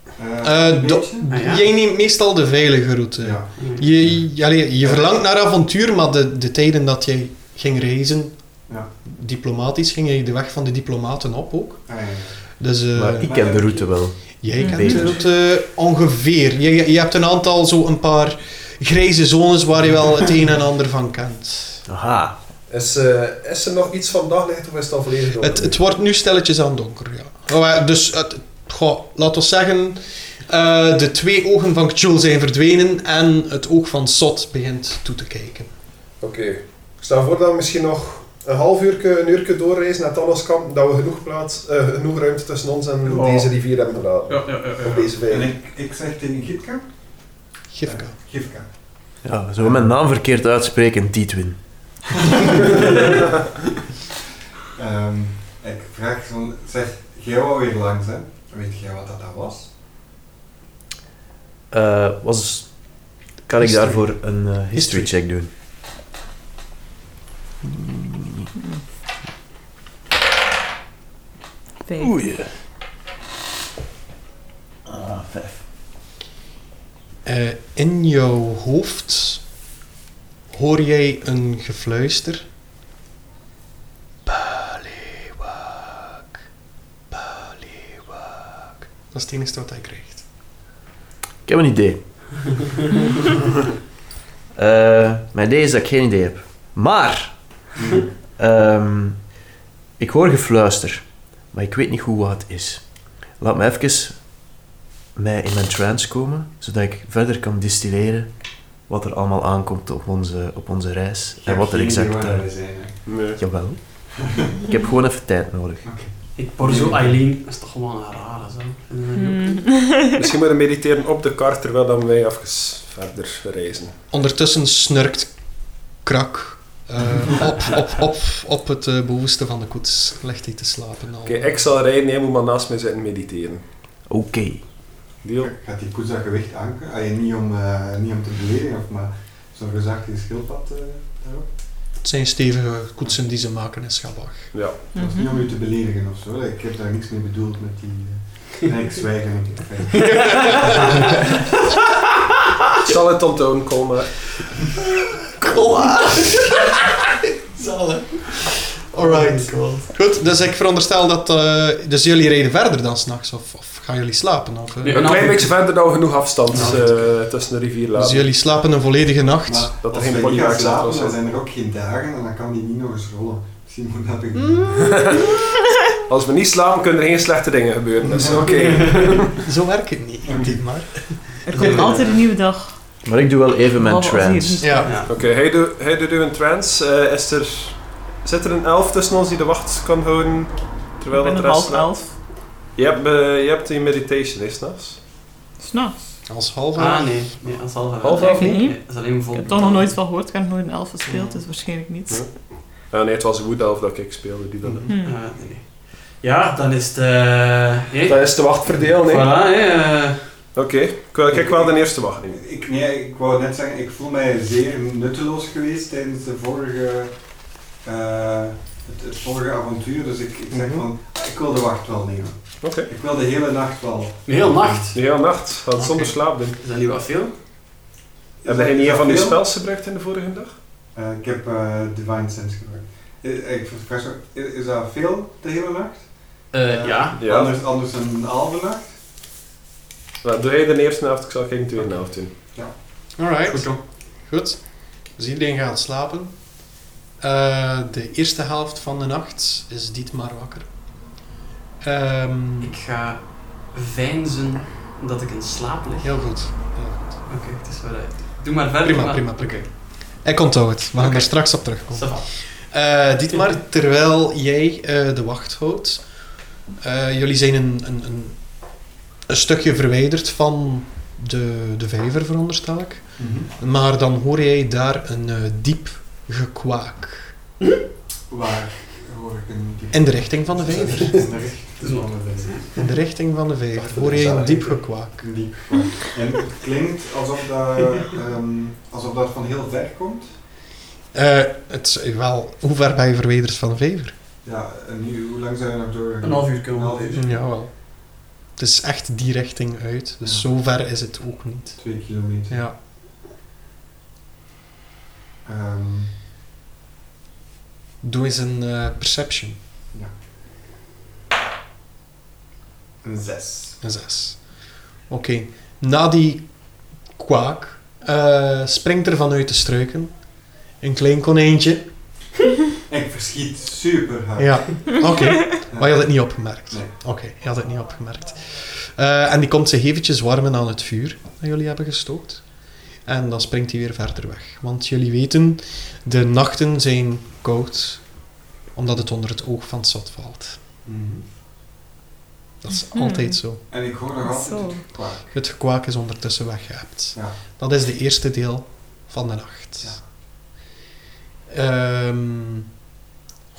Speaker 4: hè.
Speaker 2: Eh,
Speaker 4: een
Speaker 2: do-
Speaker 4: beetje?
Speaker 5: Ah, ja.
Speaker 2: Jij neemt meestal de veilige route.
Speaker 4: Ja.
Speaker 2: Je, je, allee, je verlangt naar avontuur, maar de, de tijden dat jij ging reizen,
Speaker 4: Ja.
Speaker 2: diplomatisch ging hij de weg van de diplomaten op ook.
Speaker 4: Ah, ja.
Speaker 2: Dus eh,
Speaker 7: maar ik
Speaker 4: maar
Speaker 7: ken
Speaker 4: ja,
Speaker 7: de route wel.
Speaker 2: jij kent
Speaker 7: beter.
Speaker 2: het eh, ongeveer. Je, je- je hebt een aantal, zo een paar grijze zones waar je wel het een en ander van kent.
Speaker 7: Aha.
Speaker 3: Is, eh, is er nog iets van daglicht of is het al volledig donker?
Speaker 2: Het, het wordt nu stelletjes aan donker, ja. Oh, eh, Dus, het, goh, laten we zeggen, eh, de twee ogen van Kjul zijn verdwenen en het oog van Sot begint toe te kijken.
Speaker 3: Oké. Ik stel voor dat we misschien nog een half uur, een uur doorreizen naar Tannaskamp, dat we genoeg, plaats, eh, genoeg ruimte tussen ons en
Speaker 4: Oh.
Speaker 3: deze rivier hebben gelaten.
Speaker 8: Ja, ja, ja.
Speaker 3: Of deze
Speaker 4: En
Speaker 3: vijand.
Speaker 4: ik, ik zeg tegen Gifka, Eh,
Speaker 2: Gifka.
Speaker 4: Gifka,
Speaker 7: Ja, zullen we mijn naam verkeerd uitspreken? Dietwin.
Speaker 4: Ehm, ik vraag zo, zeg, jij wou weer langs hè? Weet jij wat dat dan was?
Speaker 7: Eh, was, kan ik
Speaker 2: History.
Speaker 7: daarvoor een eh, history check doen?
Speaker 6: Vijf.
Speaker 7: Ah, vijf.
Speaker 2: Eh, in jouw hoofd hoor jij een gefluister. Balewak, balewak. Dat is het enige wat hij krijgt.
Speaker 7: Ik heb een idee. Eh, mijn idee is dat ik geen idee heb. Maar, ehm, ik hoor gefluister, maar ik weet niet goed wat het is. Laat me even mij in mijn trance komen, zodat ik verder kan distilleren wat er allemaal aankomt op onze, op onze reis.
Speaker 4: Ik
Speaker 7: en
Speaker 4: heb
Speaker 7: wat er
Speaker 4: geen idee
Speaker 7: exact...
Speaker 4: waar
Speaker 7: eh,
Speaker 4: we zijn. hè.
Speaker 3: Nee.
Speaker 7: Jawel. ik heb gewoon even tijd nodig.
Speaker 5: Ik Porzo Eileen is toch gewoon een rare, zo.
Speaker 3: Misschien moeten we mediteren op de kar terwijl dan wij even verder reizen.
Speaker 2: Ondertussen snurkt Krak eh, op, op, op, op het eh, bovenste van de koets. Legt hij te slapen al.
Speaker 3: Oké, ik zal rijden, jij moet maar naast mij zitten mediteren.
Speaker 7: Oké.
Speaker 3: Deal?
Speaker 4: Gaat die koets dat gewicht aankunnen? Ah, je, niet, om, eh, niet om te beledigen, of maar zo'n gezagde schildpad eh, daarop?
Speaker 2: Het zijn stevige koetsen die ze maken in Schabach.
Speaker 3: Ja.
Speaker 4: Dat is niet om u te beledigen of zo. Ik heb daar niks mee bedoeld met die. eh, nee, ik zwijg en ik. fijn.
Speaker 3: Ik zal het onthouden, kom maar.
Speaker 2: Zal Alright. Goed, dus ik veronderstel dat... eh, dus jullie rijden verder dan s'nachts? Of, of gaan jullie slapen? Of, eh?
Speaker 5: Nee,
Speaker 3: Een klein
Speaker 5: Nou,
Speaker 3: beetje verder dan we genoeg afstand
Speaker 2: Nou,
Speaker 3: eh, tussen de rivier
Speaker 2: Dus
Speaker 3: laten.
Speaker 2: jullie slapen een volledige nacht?
Speaker 4: Maar
Speaker 3: Dat er
Speaker 4: als
Speaker 3: geen
Speaker 4: we niet
Speaker 3: polywaak
Speaker 4: gaan
Speaker 3: zit,
Speaker 4: slapen,
Speaker 3: of zo.
Speaker 4: dan zijn er ook geen dagen en dan kan die niet nog eens rollen. Misschien moet dat ik.
Speaker 3: Als we niet slapen, kunnen er geen slechte dingen gebeuren. Dus oké.
Speaker 2: Zo werkt het niet. Dit maar.
Speaker 6: Er komt altijd een nieuwe dag.
Speaker 7: Maar ik doe wel even mijn
Speaker 6: Behalve als hier
Speaker 7: trance.
Speaker 6: niet.
Speaker 2: Ja.
Speaker 5: Ja.
Speaker 3: Oké, hij doet- hij doet u een trance. Eh, is er, zit er een elf tussen ons die de wacht kan houden? Terwijl
Speaker 6: Ik ben
Speaker 3: dat
Speaker 6: nog
Speaker 3: de rest
Speaker 6: half
Speaker 3: slaapt?
Speaker 6: elf.
Speaker 3: Je hebt, eh, je hebt die meditation, is dat?
Speaker 6: S'nachts.
Speaker 2: Als half
Speaker 5: Ah, nee. Nee, dat is al gedaan.
Speaker 3: Half
Speaker 6: elf niet?
Speaker 5: Nee, dat is alleen
Speaker 6: Ik
Speaker 5: bijvoorbeeld...
Speaker 6: heb toch nog nooit van gehoord. Ik heb nog nooit een elf gespeeld, dus waarschijnlijk niet.
Speaker 3: Ah nee, het was Wood Elf dat ik speelde. Die dat...
Speaker 6: Hm.
Speaker 5: Ja, Ah, nee, nee. Ja, dan is het... eh, nee.
Speaker 3: Dat is de wacht verdeeld, nee? Oké,
Speaker 5: Voilà, hè. eh,
Speaker 3: ik wil ik wel de eerste wacht nemen.
Speaker 4: Ik, nee, ik wou net zeggen, ik voel mij zeer nutteloos geweest tijdens de vorige, eh, het, het vorige avontuur. Dus ik, ik zeg
Speaker 3: Mhm.
Speaker 4: van, ah, ik wil de wacht wel nemen.
Speaker 3: Oké.
Speaker 4: Ik wil de hele nacht wel.
Speaker 5: Een hele nacht.
Speaker 3: De hele nacht, had zonder slaap doen.
Speaker 5: Is dat niet wat veel?
Speaker 3: Heb jij niet een van die
Speaker 4: Veel?
Speaker 3: spels gebruikt in de vorige dag?
Speaker 4: Eh, ik heb eh, Divine Sense gebruikt. Eh, Ik vraag zo, is, is dat veel de hele nacht?
Speaker 5: Eh,
Speaker 4: Eh,
Speaker 5: ja.
Speaker 3: Ja.
Speaker 4: Anders, anders een halve nacht?
Speaker 3: Nou, doe jij de eerste helft, ik zal geen tweede helft doen.
Speaker 2: Alright.
Speaker 5: Goed dan.
Speaker 2: Goed. Dus iedereen gaat slapen. Eh, de eerste helft van de nacht is dit maar wakker. Ehm,
Speaker 5: Ik ga veinzen dat ik in slaap lig.
Speaker 2: heel goed. Heel goed.
Speaker 5: Oké, het is wel uit. Doe maar verder.
Speaker 2: Prima,
Speaker 5: maar-
Speaker 2: prima, prima. Ik onthoud het. We gaan
Speaker 5: Oké.
Speaker 2: er straks op terugkomen.
Speaker 5: Ça va.
Speaker 2: Eh dit maar, terwijl jij eh, de wacht houdt. eh, jullie zijn een, een, een, een stukje verwijderd van de, de vijver, veronderstel ik. Maar dan hoor jij daar een eh, diep gekwaak.
Speaker 4: Waar hoor ik een diep-
Speaker 2: In de richting van de vijver.
Speaker 4: In de richting van de vijver.
Speaker 2: In de richting van de vijver hoor jij een diep gekwaak.
Speaker 4: Diep. En het klinkt alsof dat, ehm, alsof dat van heel ver komt.
Speaker 2: Eh, het, is wel, hoe ver ben je verwijderd van de vijver?
Speaker 4: Ja, en nu, hoe lang zijn we nog door?
Speaker 5: Een half uur kunnen we
Speaker 4: Een half uur.
Speaker 5: wel
Speaker 2: Jawel. Het is echt die richting uit, dus
Speaker 4: Ja.
Speaker 2: zo ver is het ook niet.
Speaker 4: Twee kilometer.
Speaker 2: Ja.
Speaker 4: Ehm,
Speaker 2: Doe eens een eh, perception.
Speaker 4: Een zes.
Speaker 2: Een zes. Oké. Na die kwaak eh, springt er vanuit de struiken een klein konijntje.
Speaker 4: Ik verschiet super hard.
Speaker 2: Ja, oké. Maar je had het niet opgemerkt.
Speaker 4: Nee.
Speaker 2: Oké, je had het niet opgemerkt. Eh, en die komt zich eventjes warmen aan het vuur dat jullie hebben gestookt. En dan springt hij weer verder weg. Want jullie weten, de nachten zijn koud, omdat het onder het oog van het zot valt.
Speaker 4: Mhm.
Speaker 2: Dat is altijd zo.
Speaker 4: En ik hoor nog
Speaker 6: Zo.
Speaker 4: altijd het kwaad.
Speaker 2: Het gekwaak is ondertussen weggehept.
Speaker 4: Ja.
Speaker 2: Dat is de eerste deel van de nacht.
Speaker 4: Ja.
Speaker 2: Ehm,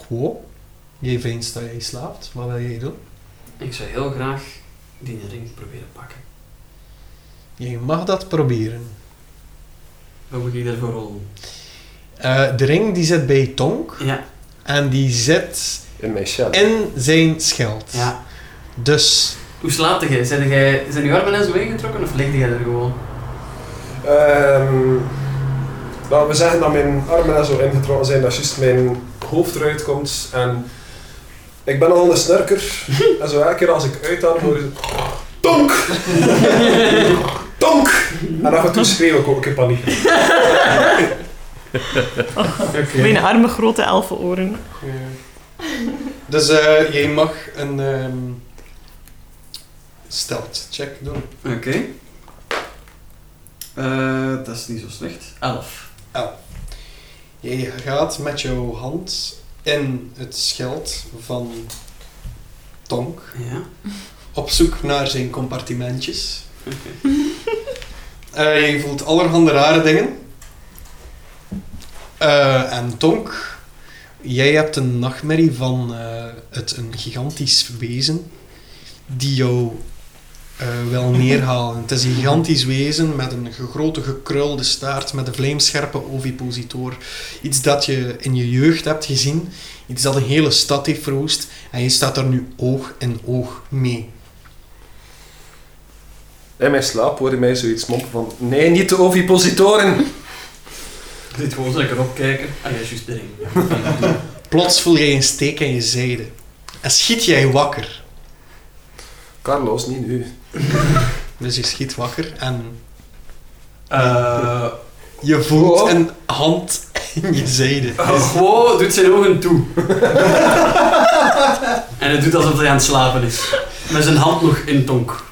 Speaker 2: Goh, jij vindt dat jij slaapt. Wat wil jij doen?
Speaker 5: Ik zou heel graag die ring proberen pakken.
Speaker 2: Jij mag dat proberen.
Speaker 5: Wat moet ik daarvoor rollen?
Speaker 2: Eh, de ring die zit bij Tonk
Speaker 5: Ja,
Speaker 2: en die zit
Speaker 3: In mijn shell.
Speaker 2: in zijn scheld.
Speaker 5: ja.
Speaker 2: Dus
Speaker 5: Hoe slaat jij? Zijn, jij? zijn je armen en zo ingetrokken of ligt jij er gewoon?
Speaker 3: Ehm, laten we zeggen dat mijn armen er zo ingetrokken zijn, dat juist mijn hoofd eruit komt. En ik ben al een snurker. en zo elke keer als ik uitadem, hoor ik zo... Tonk! Tonk! En af en toe schreeuw ik ook in paniek.
Speaker 6: Mijn arme grote elfenoren.
Speaker 2: dus eh, jij mag een ehm stealth check doen.
Speaker 5: Oké. Eh, dat is niet zo slecht. Elf.
Speaker 2: Jij gaat met jouw hand in het scheld van Tonk
Speaker 5: Ja.
Speaker 2: op zoek naar zijn compartimentjes. Eh, je voelt allerhande rare dingen. Eh, en Tonk, jij hebt een nachtmerrie van eh, het, een gigantisch wezen die jou eh, wil neerhalen. Het is een gigantisch wezen met een grote gekrulde staart, met een vlijmscherpe ovipositor. Iets dat je in je jeugd hebt gezien, iets dat een hele stad heeft verwoest. En je staat daar nu oog in oog mee.
Speaker 3: In mijn slaap hoorde mij zoiets mompelen van... Nee, niet de ovipositoren!
Speaker 5: Dit gewoon lekker opkijken. Ah ja, juist de ring.
Speaker 2: Plots voel jij een steek in je zijde. En schiet jij wakker.
Speaker 3: Carlos, niet nu.
Speaker 2: Dus je schiet wakker en
Speaker 5: Eh,
Speaker 2: je voelt
Speaker 5: Oh.
Speaker 2: een hand in je zijde.
Speaker 5: Gewoon doet zijn ogen toe. en het doet alsof hij aan het slapen is. Met zijn hand nog in tonk.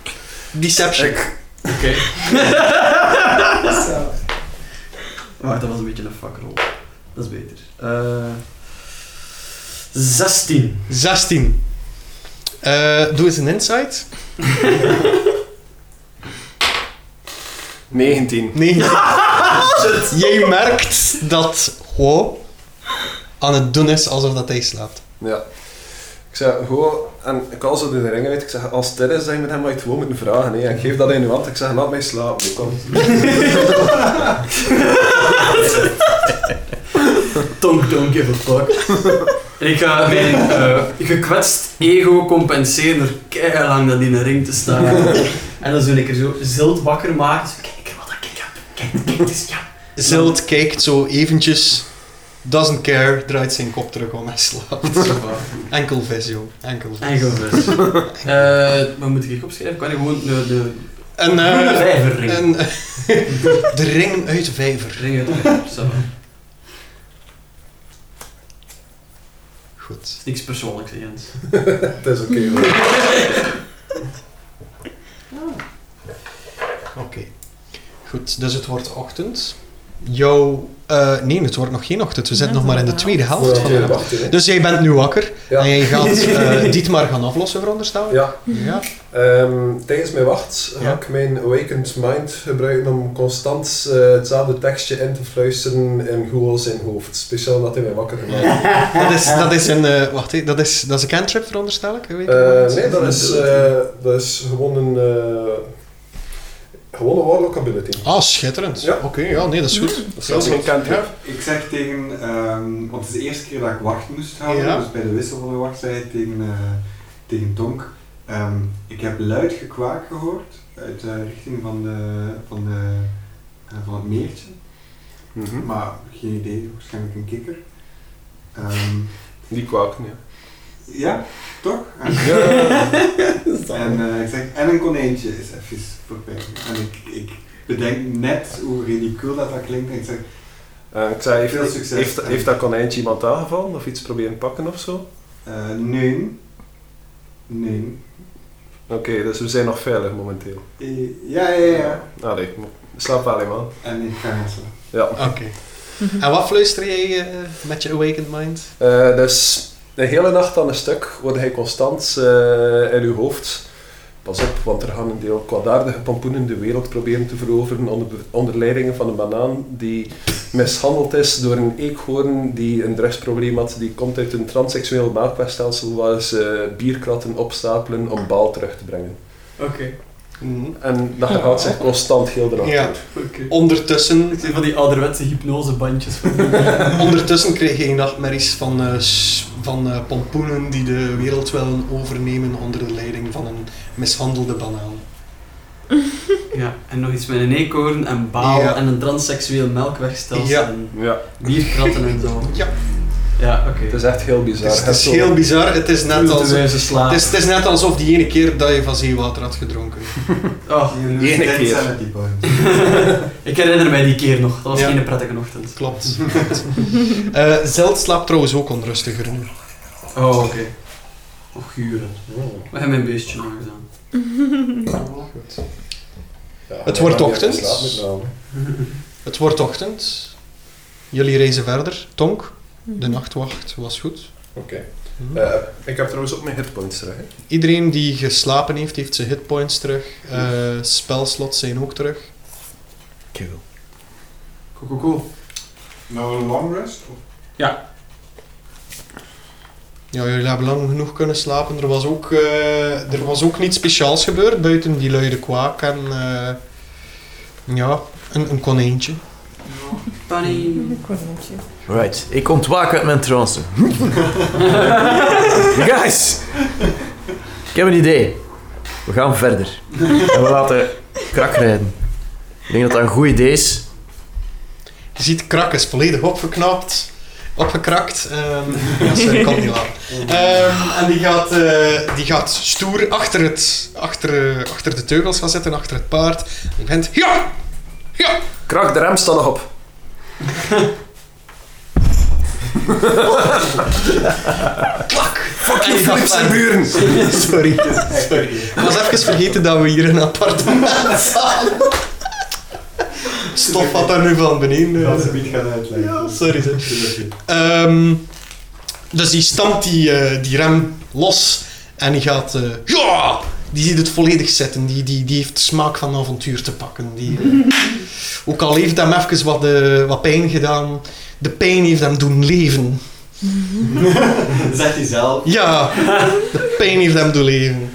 Speaker 2: Deception.
Speaker 5: Oké. Wacht, dat was een beetje een fuckrol. Dat is beter. Eh 16.
Speaker 2: 16. Eh, doe eens een insight.
Speaker 3: 19.
Speaker 2: Nee. jij merkt dat Ho aan het doen is alsof dat hij slaapt.
Speaker 3: Ja. Ik zei, gewoon, en ik haal zo de ring uit. Ik zeg, als het dit is, zeg je met hem, maar je het gewoon moeten vragen. Hè. Ik geef dat in uw hand. Ik zeg, laat mij slapen. Kom.
Speaker 5: Tonk, don't give a fuck. en ik ga mijn eh, gekwetst ego compenseren door keilang dat in een ring te staan. en dan zul ik er zo zilt wakker maken. Zo, kijk wat ik heb. Kijk, kijk, het is ja.
Speaker 2: Zilt kijkt zo eventjes, doesn't care, draait zijn kop terug om en slaapt. Enkel vis, joh. Enkel vis.
Speaker 5: Eigen vis. dus. Eh, wat moet ik hier opschrijven? Kan ik gewoon de, de
Speaker 2: Een, eh,
Speaker 5: vijverring?
Speaker 2: een, de ring uit de vijver.
Speaker 5: Ring uit de vijver, ça va.
Speaker 2: Goed.
Speaker 5: Het is niks persoonlijks, hè, Jens.
Speaker 3: Het is oké. hoor.
Speaker 2: Oké. Goed, dus het wordt ochtend. Jouw... eh, nee, het wordt nog geen ochtend. We zitten
Speaker 6: Net
Speaker 2: nog maar in de
Speaker 6: inderdaad.
Speaker 2: tweede helft
Speaker 3: Voor
Speaker 2: van de
Speaker 3: de tweede
Speaker 2: nacht.
Speaker 3: wacht, hè.
Speaker 2: Dus jij bent nu wakker
Speaker 3: Ja.
Speaker 2: en jij gaat eh dit maar gaan aflossen, veronderstel ik?
Speaker 3: Ja.
Speaker 2: Ja.
Speaker 3: Ehm, tijdens mijn wacht ga
Speaker 2: Ja.
Speaker 3: ik mijn Awakened Mind gebruiken om constant eh, hetzelfde tekstje in te fluisteren in Google zijn hoofd. Speciaal omdat hij mij wakker gemaakt heeft.
Speaker 2: Dat is, dat is een... eh, wacht, hè, dat is, dat is een cantrip, veronderstel ik? Weet ik
Speaker 3: Eh,
Speaker 2: niet.
Speaker 3: nee, dat is, eh, dat is gewoon een... eh gewoon een warlock ability.
Speaker 2: Ah, schitterend.
Speaker 3: Ja.
Speaker 2: Oké, ja, nee, dat is goed.
Speaker 3: Dat is zelfs geen cantrip.
Speaker 4: Ik zeg tegen, ehm, want het is de eerste keer dat ik wacht moest houden,
Speaker 2: Ja.
Speaker 4: dus bij de wissel van de wacht zei ik tegen, eh, tegen Tonk, ehm, ik heb luid gekwaak gehoord uit de richting van, de, van, de, eh, van het meertje,
Speaker 3: Mhm.
Speaker 4: maar geen idee, waarschijnlijk een kikker. Ehm,
Speaker 3: Die kwaken, ja.
Speaker 4: ja, toch? En, en eh, ik zeg, en een konijntje is even voorbij. En ik, ik bedenk net hoe ridicuul dat, dat klinkt. En ik zeg,
Speaker 3: Eh, ik zei,
Speaker 4: Veel
Speaker 3: heeft,
Speaker 4: succes.
Speaker 3: heeft, heeft dat konijntje iemand aangevallen of iets proberen pakken of zo?
Speaker 4: eh, nee. Nee.
Speaker 3: Oké, dus we zijn nog veilig momenteel.
Speaker 4: Eh, Ja, ja, ja.
Speaker 3: Allee, slaap wel, hè, man.
Speaker 4: En ik ga gaan slapen.
Speaker 3: Ja.
Speaker 2: Oké. En wat fluister jij eh, met je awakened mind?
Speaker 3: Eh, dus de hele nacht aan een stuk wordt hij constant eh, in uw hoofd. Pas op, want er gaan een deel kwaadaardige pampoenen de wereld proberen te veroveren onder, onder leiding van een banaan die mishandeld is door een eekhoorn die een drugsprobleem had. Die komt uit een transseksueel maagweststelsel waar ze bierkratten opstapelen om baal terug te brengen.
Speaker 5: Oké, Mhm.
Speaker 3: En dat gaat zich constant heel de nacht
Speaker 2: Ja.
Speaker 3: door.
Speaker 5: oké.
Speaker 2: Ondertussen,
Speaker 5: Ik zie van die ouderwetse hypnosebandjes.
Speaker 2: ondertussen kreeg je nachtmerries van, eh, s- van eh, pompoenen die de wereld willen overnemen onder de leiding van een mishandelde banaan.
Speaker 5: Ja, en nog iets met een eekhoorn en baal
Speaker 2: Ja.
Speaker 5: en een transseksueel melkwegstelsel
Speaker 2: Ja.
Speaker 5: en
Speaker 3: Ja,
Speaker 5: bierkratten en zo.
Speaker 2: Ja.
Speaker 5: Ja, oké.
Speaker 3: het is echt heel bizar.
Speaker 2: Het is, het is
Speaker 3: Zo-
Speaker 2: heel bizar. Het is, net als, het,
Speaker 5: Ze slapen.
Speaker 2: is, het is net alsof die ene keer dat je van zeewater had gedronken.
Speaker 5: Oh,
Speaker 4: Die
Speaker 3: ene keer.
Speaker 4: Sanity point.
Speaker 5: ik herinner mij die keer nog. Dat was
Speaker 2: Ja.
Speaker 5: geen prettige ochtend.
Speaker 2: Klopt. Eh Zeld slaapt trouwens ook onrustiger nu.
Speaker 5: Oh, oké. Och, Oh, guren.
Speaker 3: Hmm.
Speaker 5: We hebben een beestje nog gedaan.
Speaker 3: Ja,
Speaker 2: Het
Speaker 3: ja,
Speaker 2: wordt
Speaker 3: ja,
Speaker 2: ochtend.
Speaker 3: ik slaap met name.
Speaker 2: Het wordt ochtend. Jullie reizen verder. Tonk, de nachtwacht was goed.
Speaker 3: Oké.
Speaker 2: Hm.
Speaker 3: Eh, ik heb trouwens ook mijn hitpoints terug. Hè.
Speaker 2: Iedereen die geslapen heeft, heeft zijn hitpoints terug. Eh spelslots zijn ook terug.
Speaker 7: Cool.
Speaker 3: Cool, cool, cool.
Speaker 4: Nou, een long rest? Of?
Speaker 2: Ja, jullie hebben lang genoeg kunnen slapen. Er was ook, eh, er was ook niets speciaals gebeurd buiten die luide kwaak en eh, ja, een, een konijntje.
Speaker 5: Bunny.
Speaker 6: Ik word met je.
Speaker 7: Right, ik ontwaak uit mijn trance. Guys! Ik heb een idee. We gaan verder. En we laten krak rijden. Ik denk dat dat een goed idee is.
Speaker 2: Je ziet, Krak is volledig opgeknapt. Opgekrakt. ehm ja, sorry, ik kan het niet laten. Ehm, en die gaat, eh, die gaat stoer achter, het, achter, eh, achter de teugels gaan zitten, achter het paard. En die bent, ja! Ja!
Speaker 3: Krak, de rem staat nog op.
Speaker 2: Fuck you, Philips en buren! Sorry. Sorry. Ik was even vergeten dat we hier een appartement zaten. Stof wat daar nu van beneden.
Speaker 4: Dat ze niet gaan uitleggen.
Speaker 2: Ja, sorry. zeg.
Speaker 4: Dat is oké.
Speaker 2: Ehm, dus die stampt die, eh, die rem los en die gaat. eh, ja! Die ziet het volledig zitten. Die, die, die heeft de smaak van avontuur te pakken. Die, eh, ook al heeft hem even wat, eh, wat pijn gedaan, de pijn heeft hem doen leven.
Speaker 4: Zegt hij zelf.
Speaker 2: Ja, de pijn heeft hem doen leven.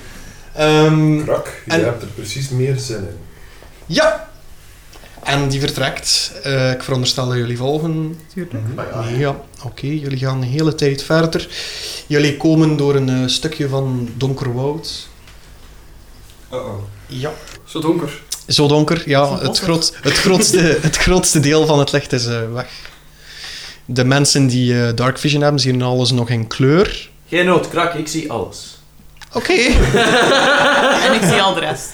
Speaker 2: Ehm,
Speaker 3: Krak, je
Speaker 2: En-
Speaker 3: hebt er precies meer zin in.
Speaker 2: ja! En die vertrekt. Eh, ik veronderstel dat jullie volgen.
Speaker 6: Tuurlijk.
Speaker 2: Ja, oké. Jullie gaan de hele tijd verder. Jullie komen door een eh, stukje van donker woud.
Speaker 4: Uh-oh.
Speaker 2: Ja.
Speaker 5: Zo donker.
Speaker 2: Zo donker, ja.
Speaker 6: Van
Speaker 2: Het,
Speaker 6: donker.
Speaker 2: groot, het, grootste, het grootste deel van het licht is eh, weg. De mensen die eh, dark vision hebben, zien alles nog in kleur.
Speaker 7: Geen nood, krak, ik zie alles.
Speaker 2: Oké.
Speaker 6: En ik zie al de rest.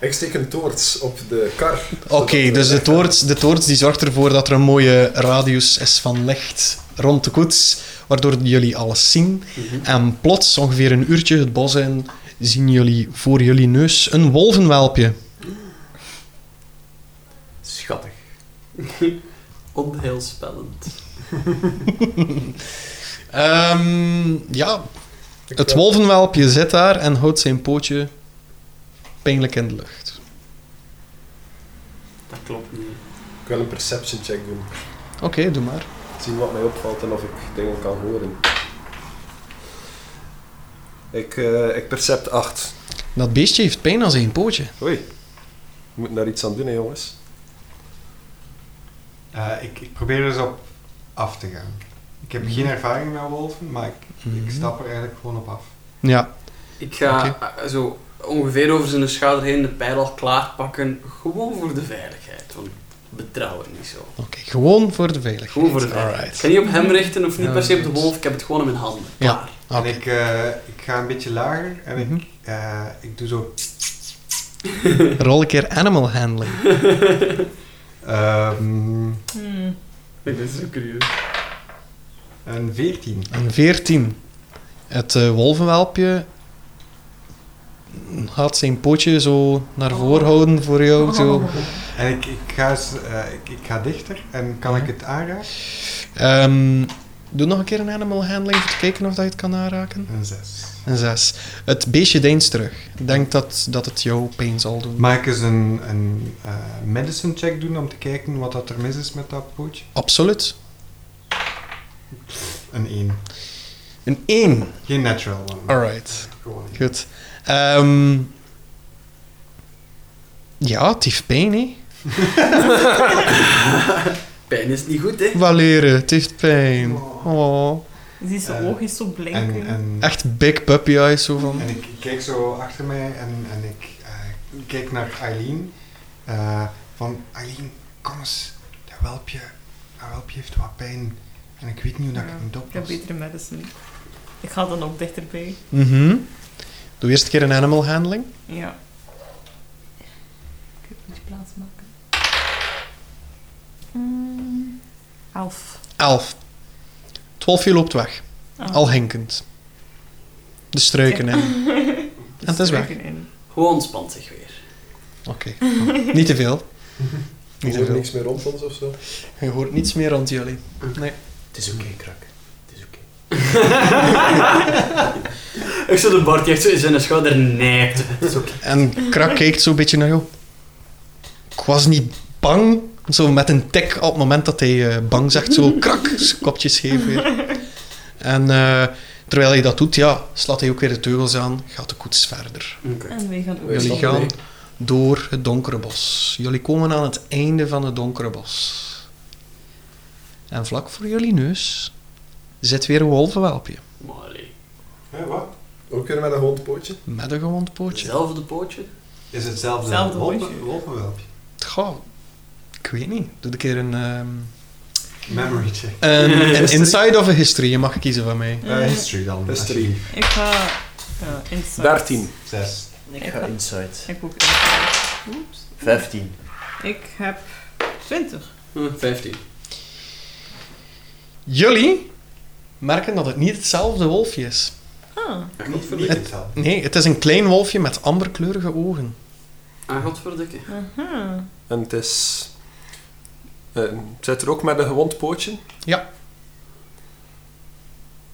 Speaker 3: Ik steek een toorts op de kar.
Speaker 2: Oké, dus de toorts, de toorts die zorgt ervoor dat er een mooie radius is van licht rond de koets, waardoor jullie alles zien. En plots, ongeveer een uurtje het bos in, zien jullie voor jullie neus een wolvenwelpje.
Speaker 7: Schattig.
Speaker 5: Onheilspellend.
Speaker 2: Ehm, ja, het wolvenwelpje zit daar en houdt zijn pootje pijnlijk in de lucht.
Speaker 5: Dat klopt niet.
Speaker 3: Ik wil een perception check doen.
Speaker 2: Oké, doe maar.
Speaker 3: Zien wat mij opvalt en of ik dingen kan horen. Ik, eh, ik percept 8.
Speaker 2: Dat beestje heeft pijn aan zijn pootje.
Speaker 3: Oei. We moeten daar iets aan doen, hè, jongens.
Speaker 4: Eh, ik, ik probeer dus op af te gaan. Ik heb geen ervaring met wolven, maar ik, ik stap er eigenlijk gewoon op af.
Speaker 2: Ja,
Speaker 5: Ik ga eh, zo ongeveer over zijn schouder heen de pijl al klaarpakken. Gewoon voor de veiligheid. Want betrouw het niet zo.
Speaker 2: Oké, gewoon voor de veiligheid.
Speaker 5: Gewoon voor de veiligheid. Ik
Speaker 2: Alright.
Speaker 5: ga niet op hem richten of niet
Speaker 4: Ja,
Speaker 5: per se op de
Speaker 4: dat is-
Speaker 5: wolf. Ik heb het gewoon in mijn handen.
Speaker 2: Ja.
Speaker 5: Klaar.
Speaker 2: Oké.
Speaker 4: En ik, eh, ik ga een beetje lager en ik,
Speaker 2: Mhm.
Speaker 4: eh, ik doe zo.
Speaker 2: Rol een keer animal handling.
Speaker 4: ehm,
Speaker 6: Hmm.
Speaker 5: Ik ben zo curieus.
Speaker 4: een 14.
Speaker 2: Een 14. Het eh, wolvenwelpje gaat zijn pootje zo naar voren houden voor jou. Zo.
Speaker 6: Oh.
Speaker 4: En ik, ik, ga, eens, eh, ik, ik ga dichter en kan ik het aanraken?
Speaker 2: Ehm, doe nog een keer een animal handling om te kijken of dat je het kan aanraken.
Speaker 4: Een 6.
Speaker 2: Een 6. Het beestje deins terug. Denk dat, dat het jou pijn zal doen.
Speaker 4: Mag ik eens een, een eh, medicine check doen om te kijken wat dat er mis is met dat pootje?
Speaker 2: Absoluut.
Speaker 4: Een 1.
Speaker 2: Een 1.
Speaker 4: Geen natural one.
Speaker 2: Alright.
Speaker 4: Gewoon.
Speaker 2: Goed. Ehm, ja, het heeft pijn, hè?
Speaker 5: Pijn is niet goed, hè?
Speaker 2: Valeren, het heeft pijn.
Speaker 4: Oh.
Speaker 2: Oh.
Speaker 6: Zie zijn
Speaker 4: Eh,
Speaker 6: oog is zo blinken.
Speaker 4: En, en,
Speaker 2: Echt big puppy eyes zo van.
Speaker 4: en ik kijk zo achter mij en, en ik eh, kijk naar Eileen. Eh, van Eileen, kom eens, dat welpje, dat welpje heeft wat pijn. En ik weet niet hoe dat
Speaker 6: Ja,
Speaker 4: ik moet
Speaker 6: Ik heb
Speaker 4: oplossen.
Speaker 6: betere medicine. Ik ga dan ook dichterbij.
Speaker 2: Mhm. Doe eerst een keer een animal handling.
Speaker 6: Ja. Ik heb een beetje plaats maken. Hmm. Elf.
Speaker 2: Elf. Twaalf, je loopt weg.
Speaker 6: Ah.
Speaker 2: Al hinkend. De struiken in. En het is weg.
Speaker 6: Struiken Dus in.
Speaker 5: Gewoon spant zich weer.
Speaker 2: Oké. Niet te veel. Niet
Speaker 3: Er
Speaker 2: te
Speaker 3: is
Speaker 2: veel.
Speaker 3: niks meer rond ons of zo.
Speaker 2: Je hoort niets meer rond jullie.
Speaker 7: Het is oké, krak. Het is oké.
Speaker 5: Ik zo de Bart die echt zo in zijn schouder nijpt. Het is oké.
Speaker 2: En Krak kijkt zo'n beetje naar jou. Ik was niet bang. Zo met een tik op het moment dat hij eh, bang zegt. Zo krak, zijn kopje scheef weer. En eh, terwijl hij dat doet, ja, slaat hij ook weer de teugels aan. Gaat de koets verder.
Speaker 6: En wij gaan ook.
Speaker 5: Wij
Speaker 2: Jullie
Speaker 5: stappen
Speaker 2: gaan
Speaker 5: mee.
Speaker 2: door het donkere bos. Jullie komen aan het einde van het donkere bos. En vlak voor jullie neus zit weer een wolvenwelpje.
Speaker 5: Maar allee,
Speaker 3: Hé, wat? Ook weer met een hond pootje?
Speaker 2: Met een gewond pootje.
Speaker 5: hetzelfde pootje.
Speaker 4: Is hetzelfde
Speaker 6: Hetzelfde
Speaker 4: wolven-
Speaker 6: pootje.
Speaker 4: wolvenwelpje?
Speaker 2: Goh, ik weet niet. Doe een keer een, ehm,
Speaker 4: Memory check.
Speaker 2: een, een inside of een history. Je mag kiezen van mij.
Speaker 4: Eh, history dan.
Speaker 3: History.
Speaker 4: alsjeblieft.
Speaker 6: Ik ga. eh, ja, inside.
Speaker 3: 13.
Speaker 4: Zes.
Speaker 7: Ik ga inside.
Speaker 6: Ik ook inside. Oeps.
Speaker 7: 15.
Speaker 6: Ik heb 20.
Speaker 5: Hm, 15.
Speaker 2: Jullie merken dat het niet hetzelfde wolfje is.
Speaker 6: Ah.
Speaker 4: Niet,
Speaker 5: Godverdikke.
Speaker 4: niet hetzelfde.
Speaker 2: Nee, het is een klein wolfje met amberkleurige ogen.
Speaker 5: Ah, godverdikke.
Speaker 6: Aha.
Speaker 3: En het is... eh, zit er ook met een gewond pootje?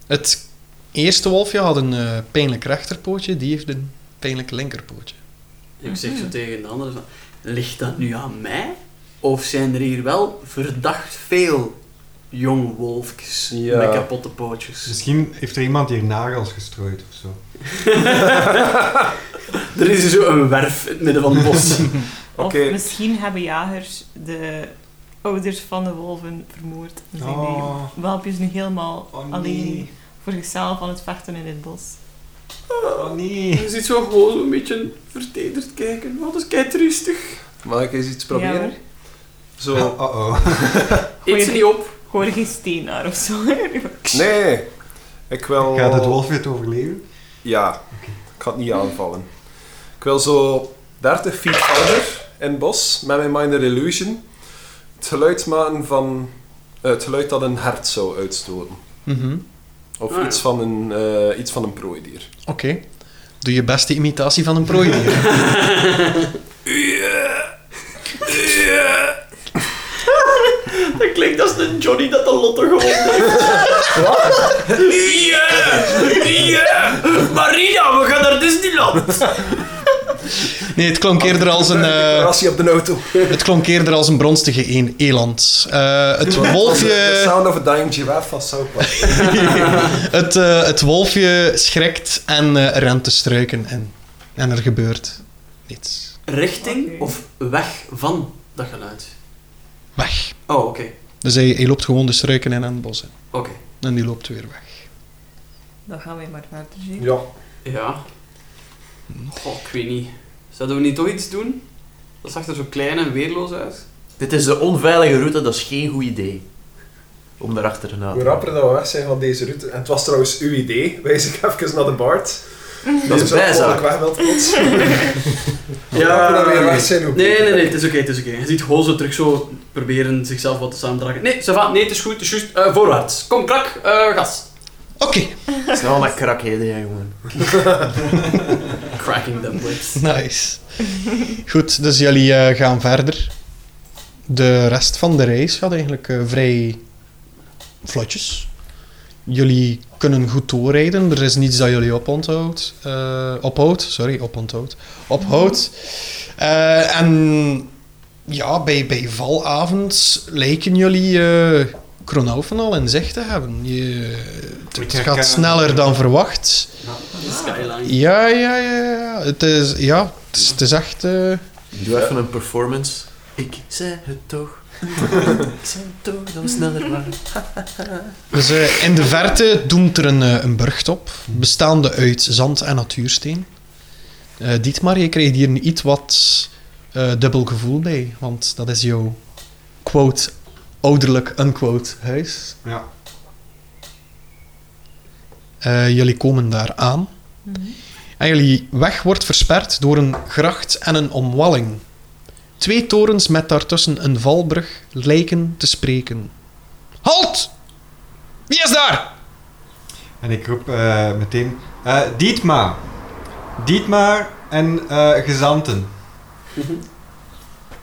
Speaker 2: Het eerste wolfje had een eh, pijnlijk rechterpootje. Die heeft een pijnlijk linkerpootje.
Speaker 5: Ik zeg zo tegen de anderen van, ligt dat nu aan mij? Of zijn er hier wel verdacht veel jong wolfjes
Speaker 3: Ja.
Speaker 5: met kapotte pootjes?
Speaker 4: Misschien heeft er iemand hier nagels gestrooid of zo.
Speaker 5: er is hier zo een werf in het midden van het bos.
Speaker 3: Oké.
Speaker 6: Of misschien hebben jagers de ouders van de wolven vermoord. En zijn
Speaker 4: Oh.
Speaker 6: die welpjes nu helemaal
Speaker 4: Oh, nee.
Speaker 6: alleen voor zichzelf aan het vechten in het bos.
Speaker 4: Oh nee.
Speaker 5: Je ziet zo gewoon zo'n beetje vertederd kijken. Wat is kei rustig.
Speaker 3: Mag ik eens iets proberen?
Speaker 6: Ja, hoor.
Speaker 3: zo.
Speaker 4: Oh oh.
Speaker 5: Eet ze niet op.
Speaker 6: Gooi er geen steen naar of zo.
Speaker 3: Nee! Ik wil...
Speaker 4: Gaat het wolfje het overleven?
Speaker 3: Ja. Ik ga het niet aanvallen. Ik wil zo 30 feet verder in het bos met mijn Minor Illusion het geluid maken van... eh, het geluid dat een hert zou uitstoten.
Speaker 2: Mhm.
Speaker 3: Of
Speaker 5: Ah, ja.
Speaker 3: iets, van een, eh, iets van een prooidier.
Speaker 2: Oké. Doe je beste imitatie van een prooidier.
Speaker 5: Dat klinkt als de Johnny dat de lotto gewonnen heeft. Wat? Yeah! Yeah! Marina, we gaan naar Disneyland!
Speaker 2: Nee, het klonk eerder als een, eh,
Speaker 3: Rassie op de auto.
Speaker 2: het klonk eerder als een bronstige een eland. Eh, het
Speaker 3: The
Speaker 2: wolfje,
Speaker 3: sound of a dying giraffe van South Park.
Speaker 2: het, eh, het wolfje schrikt en eh, rent de struiken in. En er gebeurt niets.
Speaker 5: Richting
Speaker 6: Oké.
Speaker 5: of weg van dat geluid?
Speaker 2: Weg.
Speaker 5: Oh, oké.
Speaker 2: Dus hij, hij loopt gewoon de struiken in aan het bos in.
Speaker 5: Oké.
Speaker 2: En die loopt weer weg.
Speaker 6: Dan gaan we maar verder zien.
Speaker 3: Ja.
Speaker 5: Ja. Goh, ik weet niet. Zouden we niet toch iets doen? Dat zag er zo klein en weerloos uit.
Speaker 7: Dit is de onveilige route, dat is geen goed idee. Om daarachter te
Speaker 3: Hoe
Speaker 7: gaan.
Speaker 3: rapper dat we weg zijn van deze route. En het was trouwens uw idee, wijs ik even naar de Bart.
Speaker 7: Dat is
Speaker 3: zo mogelijk
Speaker 7: bijzaak.
Speaker 3: weg wilt plots. Hoe
Speaker 5: Ja,
Speaker 3: rapper dat we hier weg
Speaker 5: nee,
Speaker 3: zijn, hoe
Speaker 5: nee,
Speaker 3: beter.
Speaker 5: nee, het is oké, het is oké. Je ziet Hozo terug zo proberen zichzelf wat te samendragen. Nee, ça va, nee, het is goed, het is juist. eh, voorwaarts. Kom, krak, eh, gas.
Speaker 2: Oké.
Speaker 7: Snel met krakheden, hè, jongen.
Speaker 5: Cracking them whips.
Speaker 2: Nice. Goed, dus jullie eh, gaan verder. De rest van de race gaat eigenlijk eh, vrij vlotjes. Jullie kunnen goed doorrijden. Er is niets dat jullie oponthoudt. eh ophoudt, sorry, oponthoudt. Ophoudt. Eh, en ja, bij, bij valavond lijken jullie eh Kronaufen al in zicht te hebben. Je, het gaat
Speaker 4: herkennen.
Speaker 2: sneller dan verwacht.
Speaker 5: Skyline.
Speaker 2: Ja, ja, ja, ja. Het is, ja, het is, het is echt... eh,
Speaker 7: Doe even een performance. Ik zei het toch. Ik zei het toch, dat we sneller waren.
Speaker 2: Dus eh, in de verte doemt er een, eh, een burcht op, bestaande uit zand en natuursteen. Eh Dietmar, je kreeg hier een iets wat eh, dubbel gevoel bij, want dat is jouw quote, ouderlijk unquote huis.
Speaker 4: Ja.
Speaker 2: Eh, jullie komen daar aan. En jullie weg wordt versperd door een gracht en een omwalling. Twee torens met daartussen een valbrug lijken te spreken. Halt! Wie is daar?
Speaker 4: En ik roep eh, meteen: eh, Dietmar! Dietmar en eh, gezanten.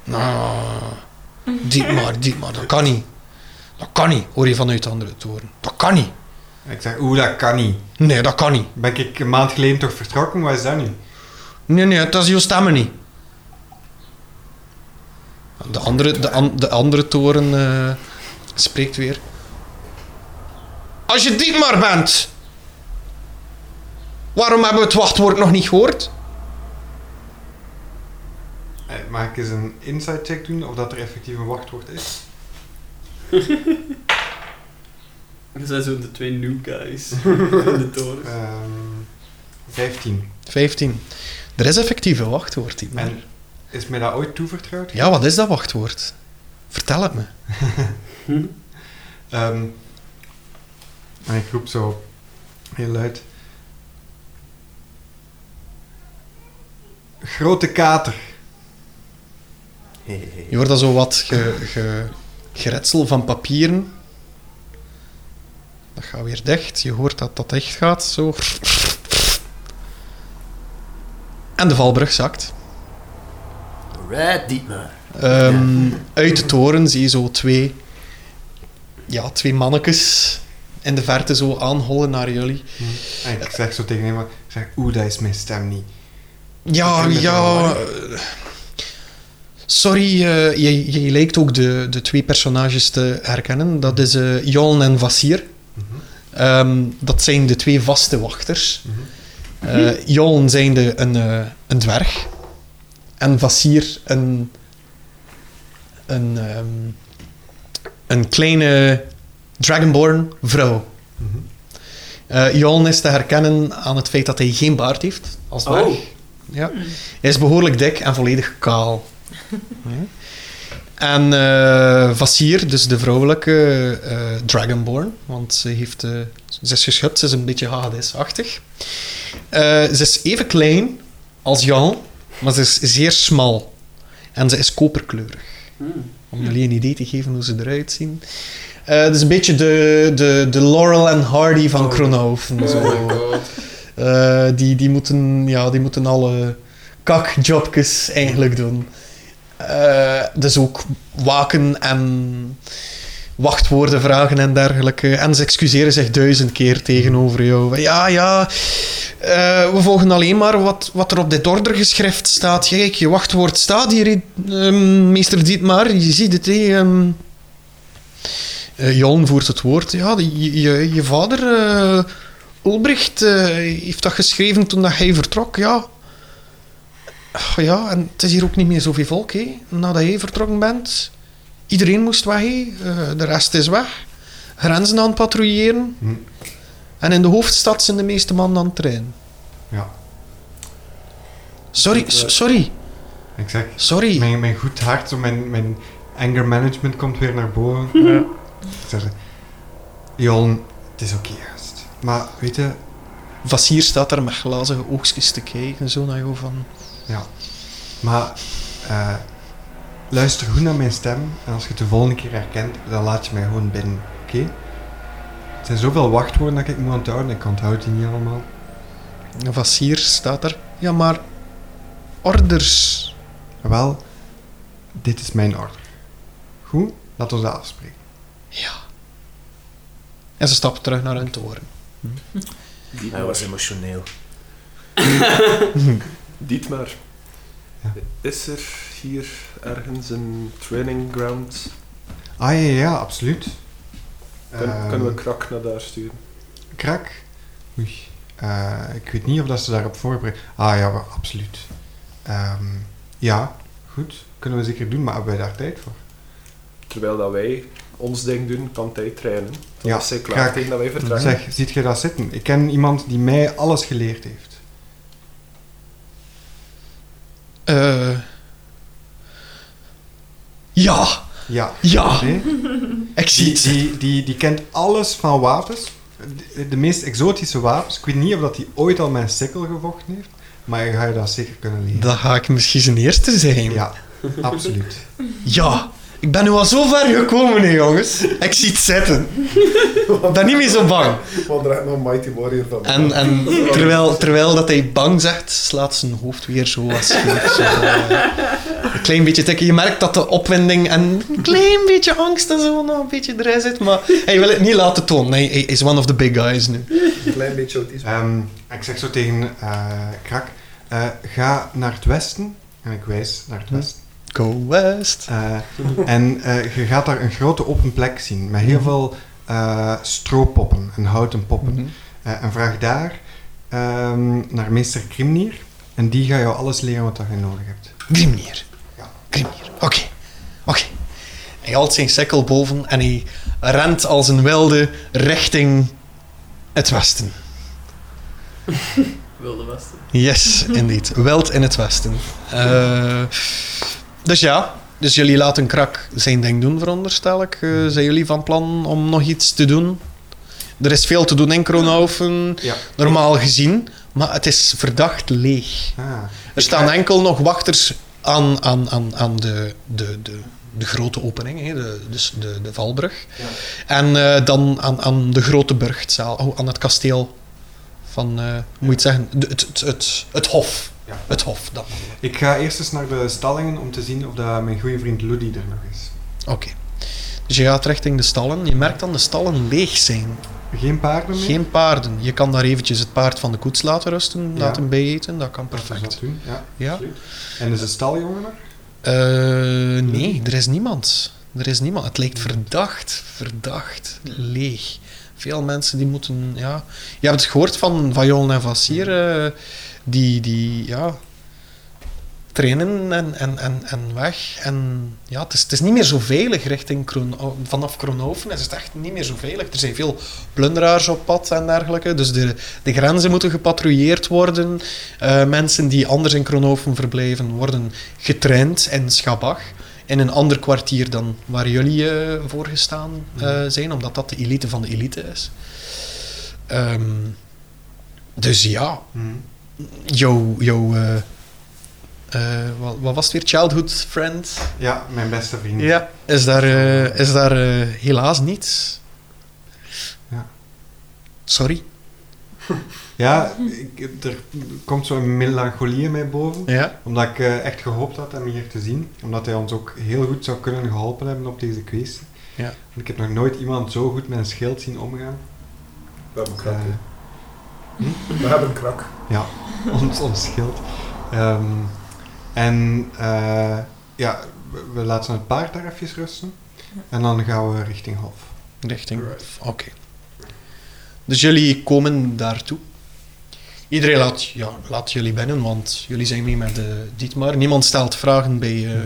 Speaker 2: Nou, diep maar, diep maar, dat kan niet. Dat kan niet, hoor je vanuit de andere toren. Dat kan niet.
Speaker 4: En ik zeg: Oeh, dat kan niet.
Speaker 2: Nee, dat kan niet.
Speaker 4: Ben ik een maand geleden toch vertrokken? Wat is dat nu?
Speaker 2: Nee, nee, dat is jouw stemmen niet. De andere, de, an- de andere toren eh, spreekt weer. Als je diep maar bent, waarom hebben we het wachtwoord nog niet gehoord?
Speaker 4: Eh, mag ik eens een inside check doen of dat er effectief een wachtwoord is?
Speaker 5: Je zijn zo de twee new guys in de toren.
Speaker 4: Ehm 15.
Speaker 2: 15. Er is effectief een wachtwoord, Dietmar.
Speaker 4: En is mij dat ooit toevertrouwd?
Speaker 2: Ja, wat is dat wachtwoord? Vertel het me.
Speaker 4: Ehm, en ik roep zo heel luid: Grote kater.
Speaker 7: Hey, hey, hey.
Speaker 2: Je hoort dan zo wat ge, ge- geretsel van papieren. Dat gaat weer dicht. Je hoort dat dat dicht gaat. Zo. En de valbrug zakt.
Speaker 7: Alright, Dietmar.
Speaker 2: Ehm, Uit de toren zie je zo twee, ja, twee mannetjes in de verte zo aanhollen naar jullie.
Speaker 4: En Ah, ik zeg zo tegen hem: ik zeg, Oeh, dat is mijn stem niet.
Speaker 2: Ja,
Speaker 4: Ik vind het
Speaker 2: ja.
Speaker 4: wel
Speaker 2: eh, Sorry, eh, jij, jij lijkt ook de, de twee personages te herkennen. Dat is eh Jon en Vassier.
Speaker 4: Mhm.
Speaker 2: Ehm, dat zijn de twee vaste wachters.
Speaker 4: Mhm.
Speaker 2: Eh Jon zijnde een, eh, een dwerg. En Vassier een... Een, ehm, een kleine Dragonborn vrouw.
Speaker 4: Mhm.
Speaker 2: Eh, Jon is te herkennen aan het feit dat hij geen baard heeft, als
Speaker 5: Oh.
Speaker 2: dwerg. Ja. Hij is behoorlijk dik en volledig kaal. Ja. En eh Vassier, dus de vrouwelijke eh, Dragonborn, want ze, heeft, eh, ze is geschupt, ze is een beetje hagedisachtig. Eh ze is even klein als Jan, maar ze is zeer smal. En ze is koperkleurig. Om jullie een idee te geven hoe ze eruit zien. Eh dus een beetje de, de, de Laurel en Hardy van Kronhoven. zo. Eh, die, die, moeten, ja, die moeten alle kakjobjes eigenlijk doen. Eh, dus ook waken en wachtwoorden vragen en dergelijke. En ze excuseren zich duizend keer tegenover jou. Ja, ja, eh, we volgen alleen maar wat, wat er op dit ordergeschrift staat. Kijk, je wachtwoord staat hier, ehm, meester Dietmar. Je ziet het, hè. ehm. Eh, Jan voert het woord. Ja, die- je, je, je vader... eh, Ulbricht eh, heeft dat geschreven toen dat hij vertrok, ja. Ach, ja, en het is hier ook niet meer zoveel volk, hè, nadat jij vertrokken bent. Iedereen moest weg, hè. Eh, de rest is weg. Grenzen aan het patrouilleren.
Speaker 4: Hm.
Speaker 2: En in de hoofdstad zijn de meeste mannen aan het trainen.
Speaker 4: Ja.
Speaker 2: Sorry, so- sorry,
Speaker 4: En ik zeg:
Speaker 2: sorry.
Speaker 4: Mijn, mijn goed hart, zo mijn, mijn Anger management komt weer naar boven.
Speaker 8: Ja.
Speaker 4: Zeggen, Jon, het is oké juist. Maar weet je,
Speaker 2: Vassier staat daar met glazige oogstjes te kijken, zo naar jou van...
Speaker 4: maar eh, luister goed naar mijn stem. En als je het de volgende keer herkent, dan laat je mij gewoon binnen. Oké? Het zijn zoveel wachtwoorden dat ik moet onthouden. Ik onthoud die niet allemaal.
Speaker 2: En Vassier staat daar... Ja, maar... Orders.
Speaker 4: Wel, dit is mijn order. Goed? Laat ons dat afspreken.
Speaker 2: Ja. En ze stapt terug naar hun toren.
Speaker 7: Hij was emotioneel.
Speaker 3: Dietmar,
Speaker 4: Ja.
Speaker 3: is er hier ergens een training ground?
Speaker 4: Ah ja, ja, ja, absoluut.
Speaker 3: Kun-
Speaker 4: Ehm,
Speaker 3: kunnen we Krak naar daar sturen?
Speaker 4: Eh, Krak? Oei. Eh, ik weet niet of dat ze daarop voorbereid... Ah ja, wel, absoluut. Ehm, ja, goed. Kunnen we zeker doen, maar hebben wij daar tijd voor?
Speaker 3: Terwijl dat wij ons ding doen, kan hij trainen. Toen
Speaker 4: Ja,
Speaker 3: is zij klaar
Speaker 4: Krak.
Speaker 3: tegen dat wij vertrekken.
Speaker 4: Zeg, ziet je dat zitten? Ik ken iemand die mij alles geleerd heeft.
Speaker 2: Eh. Ja,
Speaker 4: Ja.
Speaker 2: ja,
Speaker 4: Nee?
Speaker 2: ik zie
Speaker 4: Die,
Speaker 2: het.
Speaker 4: die, die, die kent alles van wapens. De, de meest exotische wapens. Ik weet niet of dat hij ooit al met een sikkel gevochten heeft. Maar je gaat je dat zeker kunnen leren.
Speaker 2: Dan ga ik misschien zijn eerste zijn. Ja.
Speaker 4: Ja, absoluut.
Speaker 2: ik ben nu al zo ver gekomen, hè, jongens. Ik zie het zitten. Ik ben niet meer zo bang.
Speaker 3: Want er echt nog een nou Mighty Warrior van.
Speaker 2: En, en terwijl, terwijl dat hij bang zegt, slaat zijn hoofd weer zo wat scheef. Zo, eh, een klein beetje tikken. Je merkt dat de opwinding en een klein beetje angst en zo nog een beetje erin zit. Maar hij wil het niet laten tonen. Hij, hij is one of the big guys nu.
Speaker 3: Een klein beetje autisme.
Speaker 4: Ehm, ik zeg zo tegen eh, Krak. eh, ga naar het westen. En ik wijs naar het
Speaker 2: Hm.
Speaker 4: westen.
Speaker 2: Go West.
Speaker 4: Eh, en eh, je gaat daar een grote open plek zien met
Speaker 2: Mhm.
Speaker 4: heel veel eh stroopoppen en houten poppen.
Speaker 2: Mhm.
Speaker 4: Eh, en vraag daar ehm, naar meester Krimnier. En die gaat jou alles leren wat dat je nodig hebt.
Speaker 2: Grimnir.
Speaker 4: Ja.
Speaker 2: Grimnir. Oké. Oké. Hij haalt zijn sekkel boven en hij rent als een wilde richting het westen.
Speaker 5: Wilde Westen.
Speaker 2: Yes,
Speaker 4: Mhm.
Speaker 2: indeed. Wild in het westen. Eh, dus ja. Dus jullie laten Krak zijn ding doen, veronderstel ik. Eh,
Speaker 4: Mhm.
Speaker 2: zijn jullie van plan om nog iets te doen? Er is veel te doen in Kronhoven,
Speaker 4: Ja.
Speaker 2: normaal gezien. Maar het is verdacht leeg.
Speaker 4: Ah,
Speaker 2: Er staan enkel nog wachters aan, aan, aan, aan de, de, de, de grote opening, hè, de, dus de, de Valbrug. En eh, dan aan, aan de grote burchtzaal, oh, aan het kasteel van, eh, hoe moet je het zeggen, de- het, het, het, het hof.
Speaker 4: Ja.
Speaker 2: Het hof, dan.
Speaker 4: ik ga eerst eens naar de stallingen om te zien of dat mijn goede vriend Ludie er nog is.
Speaker 2: Oké. Dus je gaat richting de stallen. Je merkt dan de stallen leeg zijn.
Speaker 4: Geen paarden meer?
Speaker 2: Geen paarden. Je kan daar eventjes het paard van de koets laten rusten,
Speaker 4: Ja.
Speaker 2: laten bijeten. Dat kan
Speaker 4: Laten we
Speaker 2: perfect.
Speaker 4: dat doen. Ja.
Speaker 2: Ja.
Speaker 4: En is de staljongen er?
Speaker 2: Eh, nee, er is niemand. Er is niemand. Het lijkt verdacht, verdacht, leeg. Veel mensen die moeten, ja... Je hebt het gehoord van Vajon en Vassier, eh, die, die, ja... Trainen en, en, en, en weg. En ja, het is, het is niet meer zo veilig richting Kroon, vanaf Kroonhoven. Is het echt niet meer zo veilig. Er zijn veel plunderaars op pad en dergelijke. Dus de, de grenzen moeten gepatrouilleerd worden. Eh, mensen die anders in Kroonhoven verblijven, worden getraind in Schabach. In een ander kwartier dan waar jullie eh, voor gestaan eh, zijn, omdat dat de elite van de elite is. Ehm, dus ja, jouw. jouw eh, eh, wat, wat was het weer? Childhood friend?
Speaker 4: Ja, mijn beste vriend.
Speaker 2: Ja, is daar, eh, is daar eh, helaas niets.
Speaker 4: Ja.
Speaker 2: Sorry.
Speaker 4: Ja, ik- er komt zo'n melancholie in mij boven.
Speaker 2: Ja.
Speaker 4: Omdat ik eh, echt gehoopt had hem hier te zien. Omdat hij ons ook heel goed zou kunnen geholpen hebben op deze kwestie.
Speaker 2: Ja.
Speaker 4: Want ik heb nog nooit iemand zo goed met een schild zien
Speaker 3: Mhm.
Speaker 4: omgaan.
Speaker 3: We hebben krak.
Speaker 4: Eh,
Speaker 3: hè. We hebben krak.
Speaker 4: ja, ons, ons schild. Ehm, en eh, ja, we, we laten het paard daar even rusten. En dan gaan we richting Hof.
Speaker 2: Richting.
Speaker 3: Right.
Speaker 2: Oké. Dus jullie komen daartoe. Iedereen laat, ja, laat jullie binnen, want jullie zijn mee met de Dietmar. Niemand stelt vragen bij eh,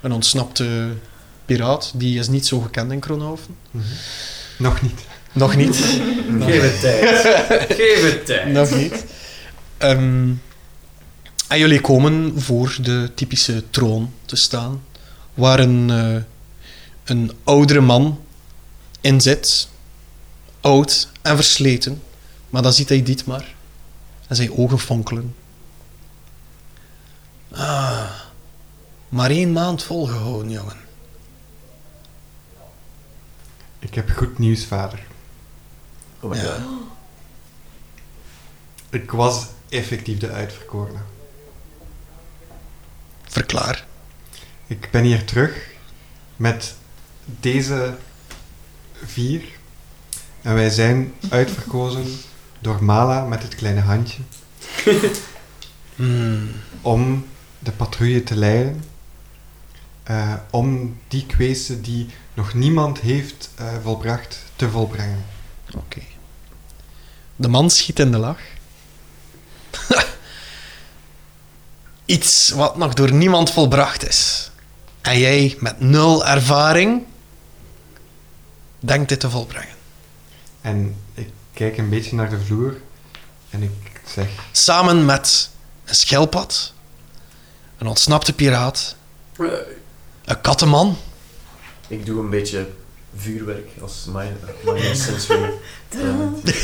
Speaker 2: een ontsnapte piraat. Die is niet zo gekend in Kronhoven.
Speaker 4: Mhm. Nog niet.
Speaker 2: Nog niet.
Speaker 5: Geef het tijd. Geef het tijd.
Speaker 2: Nog niet. Ehm, en jullie komen voor de typische troon te staan, waar een eh, een oudere man in zit. Oud en versleten. Maar dan ziet hij dit maar. En zijn ogen fonkelen. Ah, maar één maand volgehouden, jongen.
Speaker 4: Ik heb goed nieuws, vader.
Speaker 7: Oh my
Speaker 2: Ja.
Speaker 7: god.
Speaker 4: Ik was effectief de uitverkorene.
Speaker 2: Verklaar.
Speaker 4: Ik ben hier terug met deze vier. En wij zijn uitverkozen door Mala met het kleine handje
Speaker 2: Hmm.
Speaker 4: om de patrouille te leiden. Eh, om die kwesten die nog niemand heeft eh, volbracht, te volbrengen.
Speaker 2: Oké. De man schiet in de lach. Iets wat nog door niemand volbracht is. En jij met nul ervaring denkt dit te volbrengen.
Speaker 4: En ik kijk een beetje naar de vloer en ik zeg...
Speaker 2: Samen met een schelpad, een ontsnapte piraat,
Speaker 5: Eh,
Speaker 2: een kattenman.
Speaker 7: Ik doe een beetje vuurwerk als mijn, mijn Ehm, sensory. element.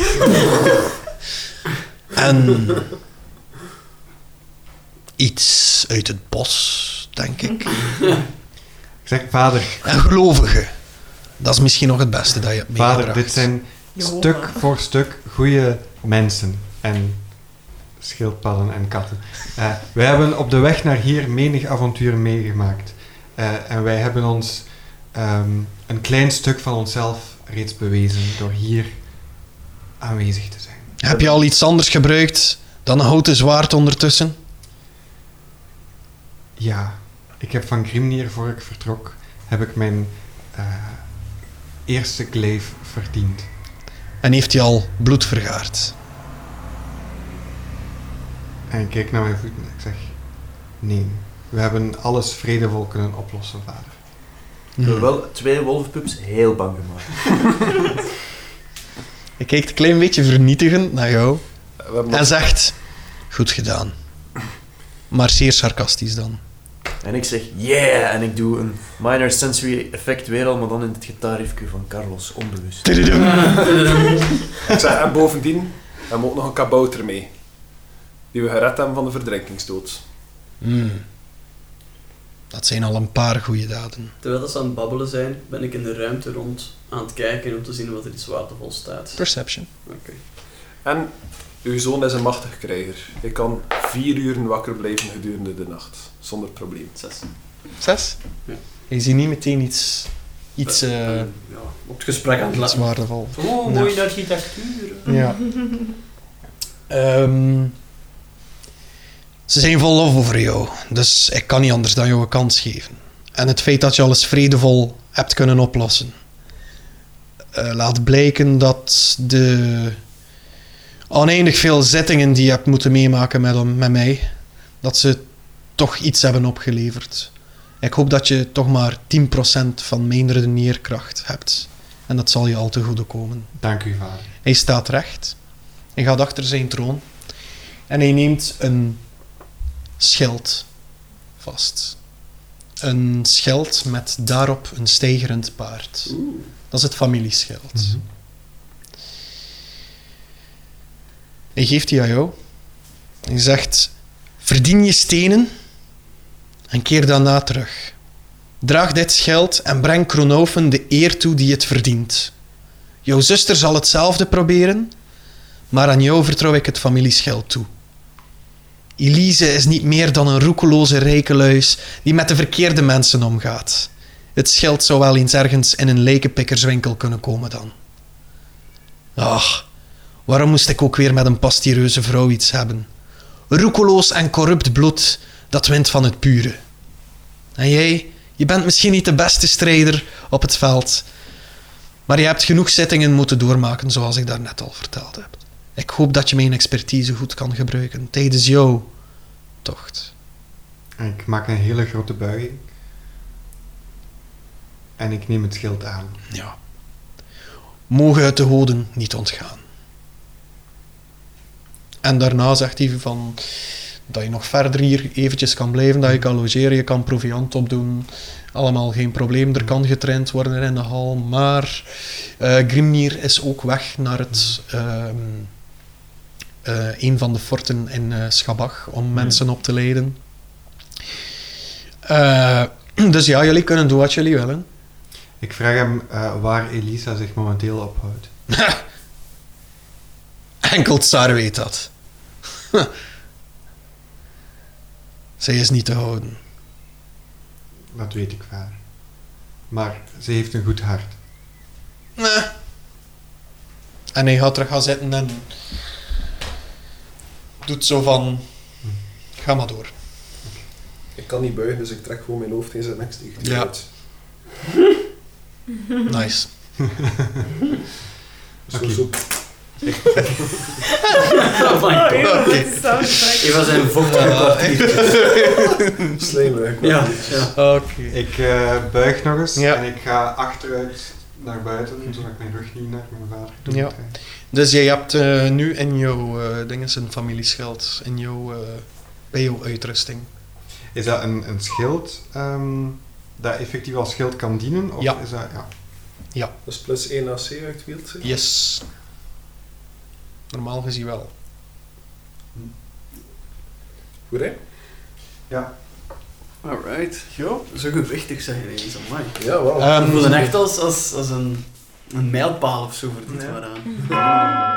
Speaker 2: En iets uit het bos, denk ik.
Speaker 4: Ik zeg, vader,
Speaker 2: En gelovigen. Dat is misschien nog het beste dat je hebt meegebracht.
Speaker 4: vader, dit zijn
Speaker 6: Jehovah.
Speaker 4: stuk voor stuk goede mensen en schildpadden en katten. Eh, wij hebben op de weg naar hier menig avontuur meegemaakt. Eh, en wij hebben ons ehm, een klein stuk van onszelf reeds bewezen door hier aanwezig te zijn.
Speaker 2: Heb je al iets anders gebruikt dan een houten zwaard ondertussen?
Speaker 4: Ja, ik heb van Grimnir voor ik vertrok, heb ik mijn eh, eerste kleef verdiend.
Speaker 2: En heeft hij al bloed vergaard?
Speaker 4: En ik kijk naar mijn voeten en ik zeg, nee, we hebben alles vredevol kunnen oplossen, vader.
Speaker 7: Ik
Speaker 2: Hmm.
Speaker 7: heb wel twee wolvenpups heel bang gemaakt.
Speaker 2: Ik kijkt een klein beetje vernietigend naar jou
Speaker 3: We hebben
Speaker 2: en zegt: Goed gedaan. Maar zeer sarcastisch dan.
Speaker 7: En ik zeg yeah! En ik doe een minor sensory effect weer al, maar dan in het gitaarriffje van Carlos, onbewust.
Speaker 3: Ik zeg, en bovendien hebben we ook nog een kabouter mee. Die we gered hebben van de verdrinkingsdood.
Speaker 2: Hmm. Dat zijn al een paar goede daden.
Speaker 5: terwijl dat ze aan het babbelen zijn, ben ik in de ruimte rond aan het kijken om te zien wat er iets waardevol staat.
Speaker 2: Perception.
Speaker 3: En uw zoon is een machtig krijger. Hij kan vier uren wakker blijven gedurende de nacht. Zonder probleem.
Speaker 5: Zes.
Speaker 2: Zes?
Speaker 5: Ja.
Speaker 2: Je ziet niet meteen iets, iets, eh,
Speaker 5: En, ja, op het gesprek aan het
Speaker 2: iets
Speaker 5: laten.
Speaker 2: waardevol.
Speaker 5: Oh, mooie architectuur.
Speaker 2: Ja. Ehm, ze zijn vol lof over jou, dus ik kan niet anders dan jou een kans geven. En het feit dat je alles vredevol hebt kunnen oplossen, eh, laat blijken dat de oneindig veel zittingen die je hebt moeten meemaken met, met mij, dat ze toch iets hebben opgeleverd. Ik hoop dat je toch maar 10% van mijn redeneerkracht hebt. En dat zal je al te goede komen.
Speaker 4: Dank u, vader.
Speaker 2: Hij staat recht. Hij gaat achter zijn troon. En hij neemt een schild vast. Een schild met daarop een stijgerend paard. Dat is het familieschild. Hij geeft die aan jou. Hij zegt: Verdien je stenen en keer daarna terug. Draag dit schild en breng Kronoven de eer toe die het verdient. Jouw zuster zal hetzelfde proberen, maar aan jou vertrouw ik het familieschild toe. Elise is niet meer dan een roekeloze rijkeluis die met de verkeerde mensen omgaat. Het schild zou wel eens ergens in een lekenpikkerswinkel kunnen komen dan. Ach, waarom moest ik ook weer met een pastireuze vrouw iets hebben? Roekeloos en corrupt bloed, dat wint van het pure. En jij, je bent misschien niet de beste strijder op het veld, maar je hebt genoeg zittingen moeten doormaken, zoals ik daarnet al verteld heb. Ik hoop dat je mijn expertise goed kan gebruiken tijdens jouw tocht.
Speaker 4: En ik maak een hele grote buiging. En ik neem het schild aan.
Speaker 2: Ja. Mogen het de goden niet ontgaan. En daarna zegt hij van... dat je nog verder hier eventjes kan blijven, dat je kan logeren, je kan proviant opdoen. Allemaal geen probleem, er kan getraind worden in de hal. Maar eh, Grimnir is ook weg naar het, ehm, eh, een van de forten in eh Schabach om mensen op te leiden. Eh, dus ja, jullie kunnen doen wat jullie willen.
Speaker 4: Ik vraag hem eh, waar Elisa zich momenteel ophoudt.
Speaker 2: Enkel Tsar weet dat. Zij is niet te houden.
Speaker 4: Dat weet ik waar. Maar ze heeft een goed hart.
Speaker 2: Nee. En hij gaat terug gaan zitten en doet zo van, ga maar door.
Speaker 3: Ik kan niet buigen, dus ik trek gewoon mijn hoofd in zijn nek tegen die
Speaker 2: Ja.
Speaker 3: uit.
Speaker 2: Nice.
Speaker 3: Zo,
Speaker 4: Oké.
Speaker 3: zo.
Speaker 5: Oh my
Speaker 6: Oh,
Speaker 5: god.
Speaker 6: eeuw,
Speaker 2: Oké.
Speaker 6: dat is zo
Speaker 5: Ik was in vocht.
Speaker 3: Slijmerig.
Speaker 5: Ja,
Speaker 2: Oké.
Speaker 4: Ik eh, buig nog eens
Speaker 2: Ja. Mhm.
Speaker 4: en ik ga achteruit naar buiten, zodat ik mijn rug niet naar mijn vader toe
Speaker 2: Ja.
Speaker 4: moet krijgen.
Speaker 2: Dus jij hebt eh, nu in jouw eh dingen een familieschild, in jouw, eh, bij jouw uitrusting.
Speaker 4: Is dat een, een schild ehm, dat effectief als schild kan dienen? Of
Speaker 2: Ja.
Speaker 4: Is dat, ja.
Speaker 3: Dat is plus 1 AC uit wield. zeg.
Speaker 2: Yes. Normaal gezien wel.
Speaker 3: Goed, hè?
Speaker 5: Alright. Yo, zo gewichtig zijn jullie eens, amai.
Speaker 3: Ja, wel.
Speaker 2: Ehm,
Speaker 5: Ik voelde echt als, als, als een, een mijlpaal of zo voor dit
Speaker 3: Ja.
Speaker 5: waaraan.
Speaker 6: fijn.